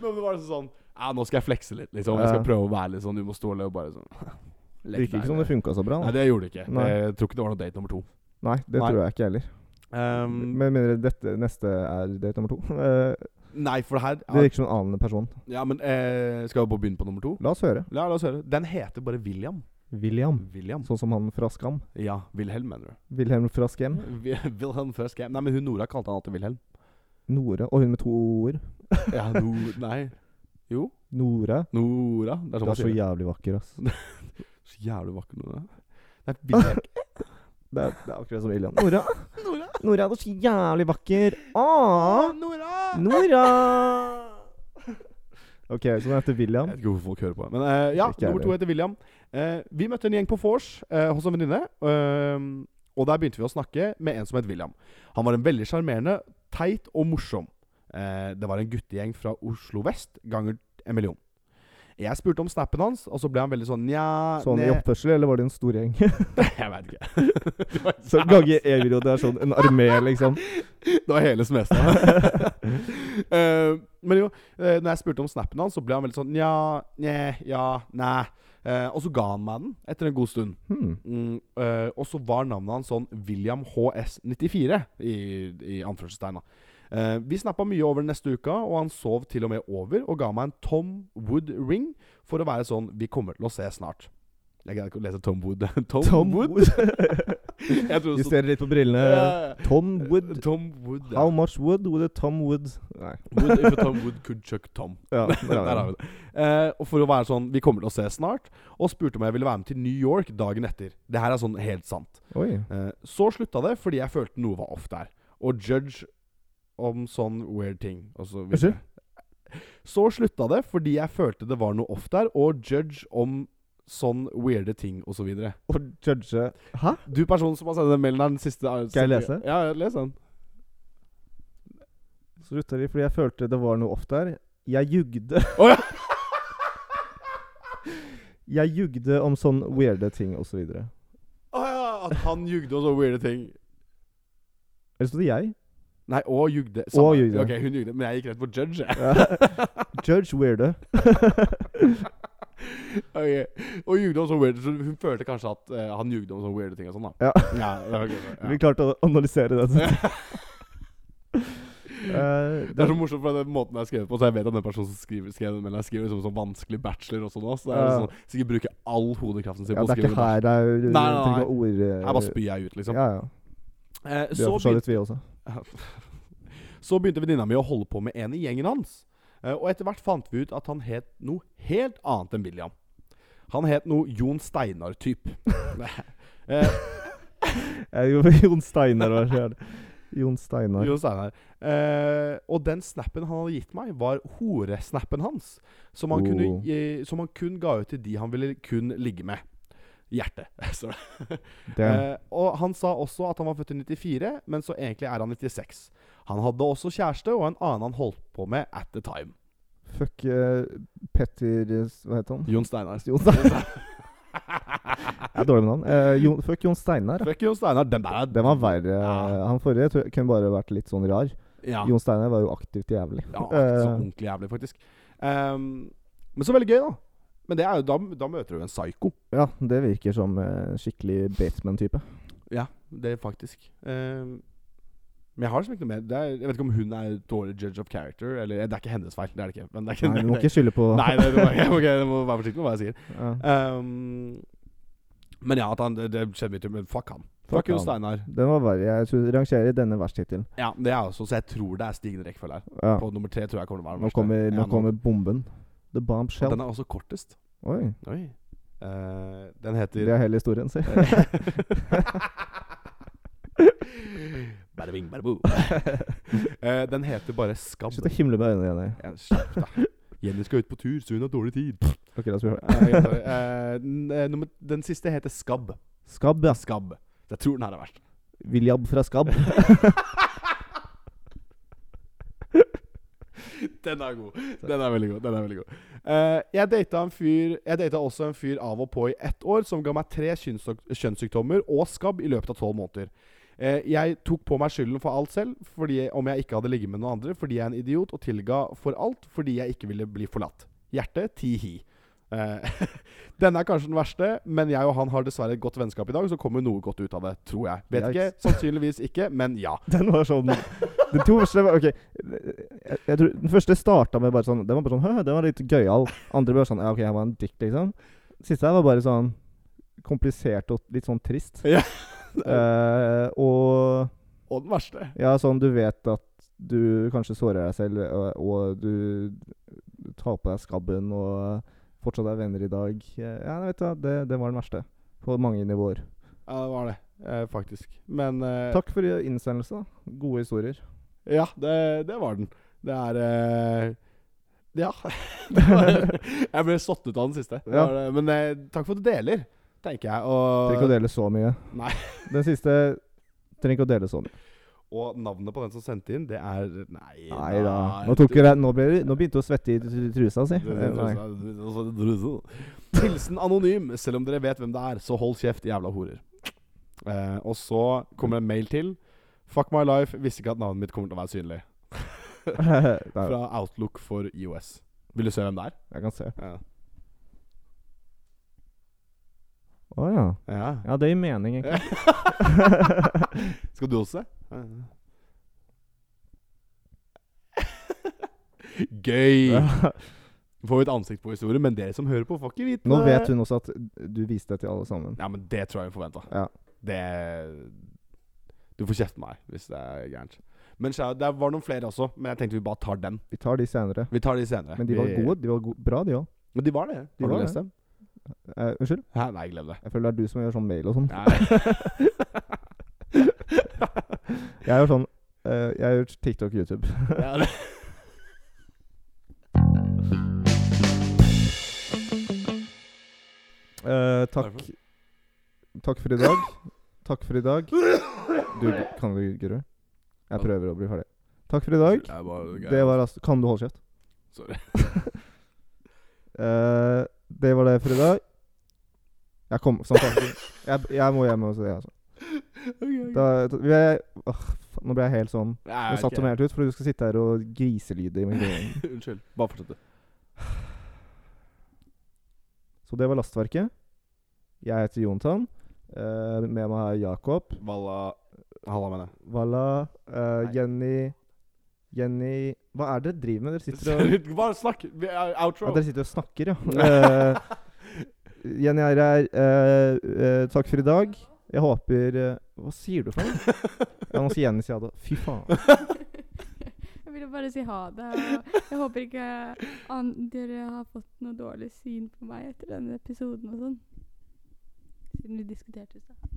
Speaker 2: Men det var liksom sånn Ja, nå skal jeg flekse litt, liksom. Jeg skal
Speaker 1: Ja.
Speaker 2: prøve å være litt sånn umotståelig og bare sånn
Speaker 1: Det virker ikke som det funka så bra. Da.
Speaker 2: Nei, det gjorde det ikke.
Speaker 1: Nei.
Speaker 2: Jeg tror ikke det var noe date nummer to.
Speaker 1: Nei, det
Speaker 2: Nei.
Speaker 1: tror jeg ikke heller.
Speaker 2: Ehm,
Speaker 1: Men mener dette neste er date nummer to? Eh,
Speaker 2: nei, for det her
Speaker 1: Det
Speaker 2: Ja,
Speaker 1: virker som en annen person.
Speaker 2: ja men eh, skal vi bare begynne på nummer to?
Speaker 1: La oss høre.
Speaker 2: Ja, la oss høre. Den heter bare William.
Speaker 1: William.
Speaker 2: William.
Speaker 1: Sånn som han fra Skam.
Speaker 2: Ja, Wilhelm, mener du.
Speaker 1: Wilhelm fra Skam.
Speaker 2: Vi- Wilhelm first game. Nei, men hun Nora kalte han alltid Wilhelm.
Speaker 1: Nora. Og hun med to o-er.
Speaker 2: Ja, no, nei. Jo,
Speaker 1: Nora.
Speaker 2: Nora. Det
Speaker 1: Du
Speaker 2: er sånn man
Speaker 1: er så
Speaker 2: sier det.
Speaker 1: jævlig vakker, ass.
Speaker 2: Så jævlig vakker Nora. Nei, Wilhelm.
Speaker 1: Det er, det er akkurat som William. Nora. Nora. Nora, du er så jævlig vakker. Åh.
Speaker 2: Nora!
Speaker 1: Nora! OK, så den heter
Speaker 2: Jeg
Speaker 1: William.
Speaker 2: vet ikke hvorfor folk hører på. Men eh, ja,
Speaker 1: Ikke jeg
Speaker 2: nummer to
Speaker 1: heller.
Speaker 2: heter William. Eh, vi møtte en gjeng på vors eh, hos en venninne. eh, og der begynte vi å snakke med en som het William. Han var en veldig sjarmerende, teit og morsom. Eh, det var en guttegjeng fra Oslo vest ganger en million. Jeg spurte om snappen hans, og så ble han veldig sånn nja
Speaker 1: Sånn i
Speaker 2: ne-
Speaker 1: oppførsel, eller var det en stor gjeng?
Speaker 2: Jeg veit ikke. Det var,
Speaker 1: Så Gange euro, det er sånn en armé, liksom.
Speaker 2: det var hele semesteret. Eh, men jo, eh, når jeg spurte om snappen hans, så ble han veldig sånn nja, nje, ja, næ. Eh, og så ga han meg den etter en god stund.
Speaker 1: Hmm.
Speaker 2: Mm, eh, og så var navnet hans sånn William HS94, i, i anførselstegna. Eh, vi snappa mye over den neste uka, og han sov til og med over og ga meg en Tom Wood ring for å være sånn Vi kommer til å se snart. Jeg greier ikke å lese Tom Wood. Tom, Wood? Jeg tror det stod-
Speaker 1: Justerer litt på brillene.
Speaker 2: Ja, ja, ja.
Speaker 1: Tom Wood.
Speaker 2: Tom Wood, ja.
Speaker 1: How much wood would a Tom Wood Nei.
Speaker 2: Wood, if a Tom Wood could chuck Tom.
Speaker 1: Ja,
Speaker 2: Der har vi det. Eh, og for å være sånn Vi kommer til å se snart. Og spurte om jeg ville være med til New York dagen etter. Det her er sånn helt sant.
Speaker 1: Oi.
Speaker 2: Eh, så slutta det fordi jeg følte noe var off der. Og judge om sånn weird ting. Og så videre.
Speaker 1: Unnskyld?
Speaker 2: så slutta det fordi jeg følte det var noe off der, og judge om sånn weirde ting, og så videre.
Speaker 1: Å judge Hæ?
Speaker 2: Du personen som har sendt den mailen her den siste
Speaker 1: Skal jeg lese?
Speaker 2: Ja, ja, les den.
Speaker 1: Slutta de fordi jeg følte det var noe off der? Jeg jugde.
Speaker 2: Å ja!
Speaker 1: Jeg jugde om sånn weirde ting osv. Eller
Speaker 2: Å ja! At han jugde om sånne weirde ting.
Speaker 1: så det jeg.
Speaker 2: Nei, og jugde.
Speaker 1: Og jugde.
Speaker 2: Ok, hun jugde, men jeg gikk rett på judge. jeg.
Speaker 1: Judge weirde.
Speaker 2: Ok, Og jugde om sånne weirde så Hun følte kanskje at eh, han jugde om sånne weirde ting og sånn, da.
Speaker 1: Ja.
Speaker 2: ja, det var gøy, ja.
Speaker 1: Vi klarte å analysere det. Eh,
Speaker 2: Det er så morsomt, for den måten jeg har skrevet på, så jeg vet at den personen som skriver, skrev den mailen, jeg skriver liksom sånn vanskelig bachelor også nå. Så det er
Speaker 1: Ja.
Speaker 2: sånn, sikkert bruker all hodekraften sin
Speaker 1: ja,
Speaker 2: på å
Speaker 1: det er
Speaker 2: skrive
Speaker 1: ikke
Speaker 2: den.
Speaker 1: her det er
Speaker 2: Nei, nei, nei.
Speaker 1: trenger ikke ord eh,
Speaker 2: Jeg bare spyr jeg ut, liksom.
Speaker 1: Ja, ja.
Speaker 2: Eh,
Speaker 1: Vi
Speaker 2: så,
Speaker 1: har for så
Speaker 2: begyn-
Speaker 1: vidt, vi også.
Speaker 2: så begynte venninna mi å holde på med en i gjengen hans. Eh, og etter hvert fant vi ut at han het noe helt annet enn William. Han het noe Jon Steinar-typ. eh,
Speaker 1: Eh, jo- Jon Steinar, hva skjer? Jon Steinar.
Speaker 2: Jon Steinar. Eh, og den snappen han hadde gitt meg, var horesnappen hans. Som han, kunne,
Speaker 1: Oh.
Speaker 2: gi- som han kun ga ut til de han ville kun ligge med. Hjerte, står det.
Speaker 1: Det.
Speaker 2: Eh, og han sa også at han var født i 94, men så egentlig er han 96. Han hadde også kjæreste og en annen han holdt på med at the time.
Speaker 1: Fuck eh, Petter eh, Hva heter han?
Speaker 2: Jon Steinar.
Speaker 1: Jon Steinar. Jeg er dårlig med navn. Eh, Jon, fuck Jon Steinar.
Speaker 2: Fuck Jon Steinar. Den der er
Speaker 1: Den var verre.
Speaker 2: Ja.
Speaker 1: Han forrige tror jeg kunne bare vært litt sånn rar.
Speaker 2: Ja, ja
Speaker 1: Jon Steinar var jo aktivt jævlig.
Speaker 2: så
Speaker 1: Eh,
Speaker 2: ordentlig jævlig, faktisk. Ehm, men så veldig gøy, da. Men det er jo, da, da møter du en psyko.
Speaker 1: ja, det virker som eh, skikkelig Bateman-type.
Speaker 2: Ja, det er faktisk. Ehm, men jeg har liksom ikke noe mer det er, Jeg vet ikke om hun er dårlig judge of character, eller Det er ikke hennes feil, det er det ikke. Men det er ikke,
Speaker 1: Nei, Du må ikke skylde på
Speaker 2: Nei, det, det, må, jeg må ikke- jeg må være forsiktig med hva jeg sier.
Speaker 1: Ja.
Speaker 2: Ehm, men ja, at han, det, det skjedde mye til, men fuck han. Fuck,
Speaker 1: Fuck
Speaker 2: Jon
Speaker 1: han.
Speaker 2: Steinar.
Speaker 1: Den var verre. Jeg tror- rangerer denne verst hittil.
Speaker 2: Ja, det er jeg også, så jeg tror det er stigende rekkefølge her.
Speaker 1: Ja.
Speaker 2: På nummer tre tror jeg kommer til å være den
Speaker 1: Nå
Speaker 2: verste.
Speaker 1: kommer,
Speaker 2: Ja,
Speaker 1: nå kommer bomben. The bombshell.
Speaker 2: Den er også kortest.
Speaker 1: Oi.
Speaker 2: Oi. Eh, den heter
Speaker 1: Det er hele historien, si.
Speaker 2: Bada bing, bada boo. Eh, den heter bare Skabb.
Speaker 1: Slutt å himle med øynene igjen. jeg.
Speaker 2: Ja, Slapp deg. Jenny skal ut på tur, så hun har dårlig tid.
Speaker 1: Ok, la oss høre.
Speaker 2: Eh, jeg tar- eh, den, eh, nummer- den siste heter Skabb.
Speaker 1: Skabb, ja.
Speaker 2: Skabb. Jeg tror den her er verst.
Speaker 1: William fra Skabb.
Speaker 2: Den er god. Den er veldig god. den er veldig god Eh, Jeg data en fyr Jeg data også en fyr av og på i ett år som ga meg tre kjønnsdok- kjønnssykdommer og skabb i løpet av tolv måneder. Eh, jeg tok på meg skylden for alt selv, fordi, om jeg ikke hadde ligget med noen andre, fordi jeg er en idiot, og tilga for alt fordi jeg ikke ville bli forlatt. Hjerte ti-hi. Eh, denne er kanskje den verste, men jeg og han har dessverre et godt vennskap i dag, så kommer noe godt ut av det, tror jeg. Vet ikke,
Speaker 1: Yikes.
Speaker 2: sannsynligvis ikke, men ja.
Speaker 1: Den var sånn De to første var OK. Jeg, jeg tror Den første starta med bare sånn Den var bare sånn Hø, den var litt gøyal. Andre var sånn Ja, OK, jeg var en dick, liksom. Siste her var bare sånn komplisert og litt sånn trist.
Speaker 2: Ja.
Speaker 1: Eh, og
Speaker 2: Og den verste.
Speaker 1: ja, sånn du vet at du kanskje sårer deg selv, og, og du tar på deg skabben og fortsatt er venner i dag. Eh, Ja, vet du hva, det, det var den verste. På mange nivåer.
Speaker 2: Ja, det var det, eh, faktisk. Men eh,
Speaker 1: Takk for innsendelse, da. Gode historier.
Speaker 2: Ja, det, det var den. Det er eh, Ja. Det var, jeg ble satt ut av den siste. Det
Speaker 1: Ja.
Speaker 2: var, det. men eh, takk for at du deler, tenker jeg.
Speaker 1: Trenger ikke å
Speaker 2: Og,
Speaker 1: dele så mye.
Speaker 2: Nei.
Speaker 1: Den siste trenger ikke å dele så mye.
Speaker 2: og navnet på den som sendte inn, det er Nei,
Speaker 1: Nei da. Nå, tok jeg, deg- nå, ble, det- nå begynte du å svette i tr- tr- trusa si.
Speaker 2: Du- du- du-
Speaker 1: Eh, Nei.
Speaker 2: du- du- du- du- du- Hilsen anonym. Selv om dere vet hvem det er, så hold kjeft, jævla horer. Eh, og så kommer det en mail til. Fuck my life. Visste ikke at navnet mitt kommer til å være synlig.
Speaker 1: Nei.
Speaker 2: Fra Outlook for IOS. Vil du se hvem det er?
Speaker 1: Jeg kan se.
Speaker 2: Ja.
Speaker 1: Å ja.
Speaker 2: ja.
Speaker 1: Ja, det gir mening, egentlig.
Speaker 2: Skal du også? Gøy! Får vi et ansikt på historien, men dere som hører på, får ikke vite
Speaker 1: Nå
Speaker 2: det.
Speaker 1: vet hun også at du viste det til alle sammen.
Speaker 2: Ja, men det tror jeg vi forventa.
Speaker 1: Ja.
Speaker 2: Det Du får kjefte meg hvis det er gærent. Men skjæ- det var noen flere også, men jeg tenkte vi bare tar dem.
Speaker 1: Vi tar de senere.
Speaker 2: Vi tar de senere.
Speaker 1: Men de var
Speaker 2: vi,
Speaker 1: gode. De var go bra, de òg.
Speaker 2: Men de var det.
Speaker 1: De var
Speaker 2: Har du
Speaker 1: det.
Speaker 2: lest dem?
Speaker 1: Eh, unnskyld?
Speaker 2: Hæ? Nei, glem det.
Speaker 1: Jeg føler det er du som gjør sånn mail og sånn.
Speaker 2: Nei.
Speaker 1: Jeg gjør sånn eh, Jeg gjør TikTok og YouTube.
Speaker 2: Ja, det.
Speaker 1: Eh, takk. Takk for i dag. Takk for i dag. Du, kan du gurre? Jeg prøver å bli ferdig. Takk for i dag.
Speaker 2: Det var,
Speaker 1: Det var altså Kan du holde kjeft?
Speaker 2: Sorry.
Speaker 1: Eh, det var det for i dag. Jeg kom som sagt, jeg, jeg må hjem og se det. Altså. Da, da- jeg, åh, faen, nå ble jeg helt sånn
Speaker 2: Nei,
Speaker 1: Nå satt
Speaker 2: ok.
Speaker 1: du meg helt ut, fordi du skal sitte her og griselyde i mikrofonen.
Speaker 2: Unnskyld. Bare fortsett, du.
Speaker 1: Så det var Lastverket. Jeg heter Jontan. Eh, med meg er Jakob,
Speaker 2: Valla Halla, mener jeg.
Speaker 1: Valla, eh,
Speaker 2: Nei.
Speaker 1: Jenny Jenny Hva er det dere driver med? Dere sitter og
Speaker 2: Sorry, Bare snakk! Vi er
Speaker 1: Ja,
Speaker 2: Outro.
Speaker 1: dere sitter og snakker, ja. Eh, Jenny er her. eh, eh, takk for i dag. Jeg håper eh, Hva sier du for noe? Ja, nå sier Jenny si ha det. Fy faen.
Speaker 3: Jeg ville bare si ha det. og Jeg håper ikke an dere har fått noe dårlig syn på meg etter denne episoden og sånn. Siden vi diskuterte i stad.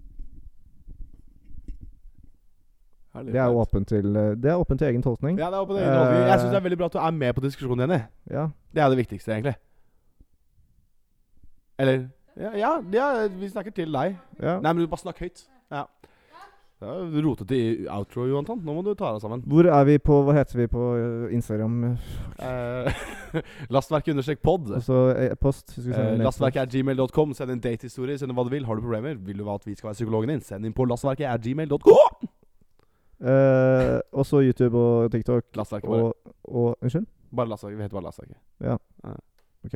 Speaker 1: Det er jo åpent til, eh, det er åpent til egen tolkning.
Speaker 2: Ja, det er åpen egen holdning. Jeg
Speaker 1: Eh.
Speaker 2: syns det er veldig bra at du er med på diskusjonen, Jenny.
Speaker 1: Ja.
Speaker 2: Det er det viktigste, egentlig. Eller Ja, ja, ja vi snakker til deg.
Speaker 1: ja.
Speaker 2: Nei, men du bare snakk høyt. Ja. ja du rotet i outro, Johan Tann. Nå må du ta deg sammen.
Speaker 1: Hvor er vi på Hva heter vi på eh, Instagram?
Speaker 2: Eh, Lastverket understrek pod.
Speaker 1: Og så eh, post. Skal vi se,
Speaker 2: Eh,
Speaker 1: ned-
Speaker 2: lastverket er gmail.com. Send en datehistorie. Send hva du vil. Har du problemer? Vil du at vi skal være psykologen din? Send inn på lastverket er gmail.com.
Speaker 1: Eh, og så YouTube og TikTok.
Speaker 2: Lastverket bare.
Speaker 1: Og, og Unnskyld?
Speaker 2: Bare lastverket. Vi heter bare lastverket.
Speaker 1: Ja. Ok.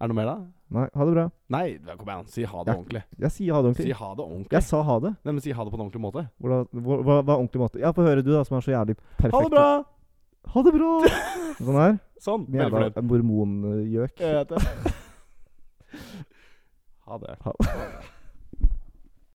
Speaker 2: Er det noe mer, da?
Speaker 1: Nei, ha det bra.
Speaker 2: Nei, da, kom igjen. Si ha det
Speaker 1: Ja.
Speaker 2: ordentlig.
Speaker 1: Jeg sier ha det
Speaker 2: Si
Speaker 1: ordentlig.
Speaker 2: ha det ordentlig.
Speaker 1: Jeg sa ha det.
Speaker 2: Nei, men si ha det på en ordentlig måte.
Speaker 1: Hvordan, hva, hva hva er ordentlig måte? Ja, få høre du, da, som er så jævlig perfekt.
Speaker 2: Ha det bra!
Speaker 1: Ha det bra! Sånn her.
Speaker 2: Sånn. Veldig
Speaker 1: Jævla
Speaker 2: fornøyd.
Speaker 1: mormongjøk.
Speaker 2: Jeg vet det. Ha det.
Speaker 1: Ha-
Speaker 2: Ha det.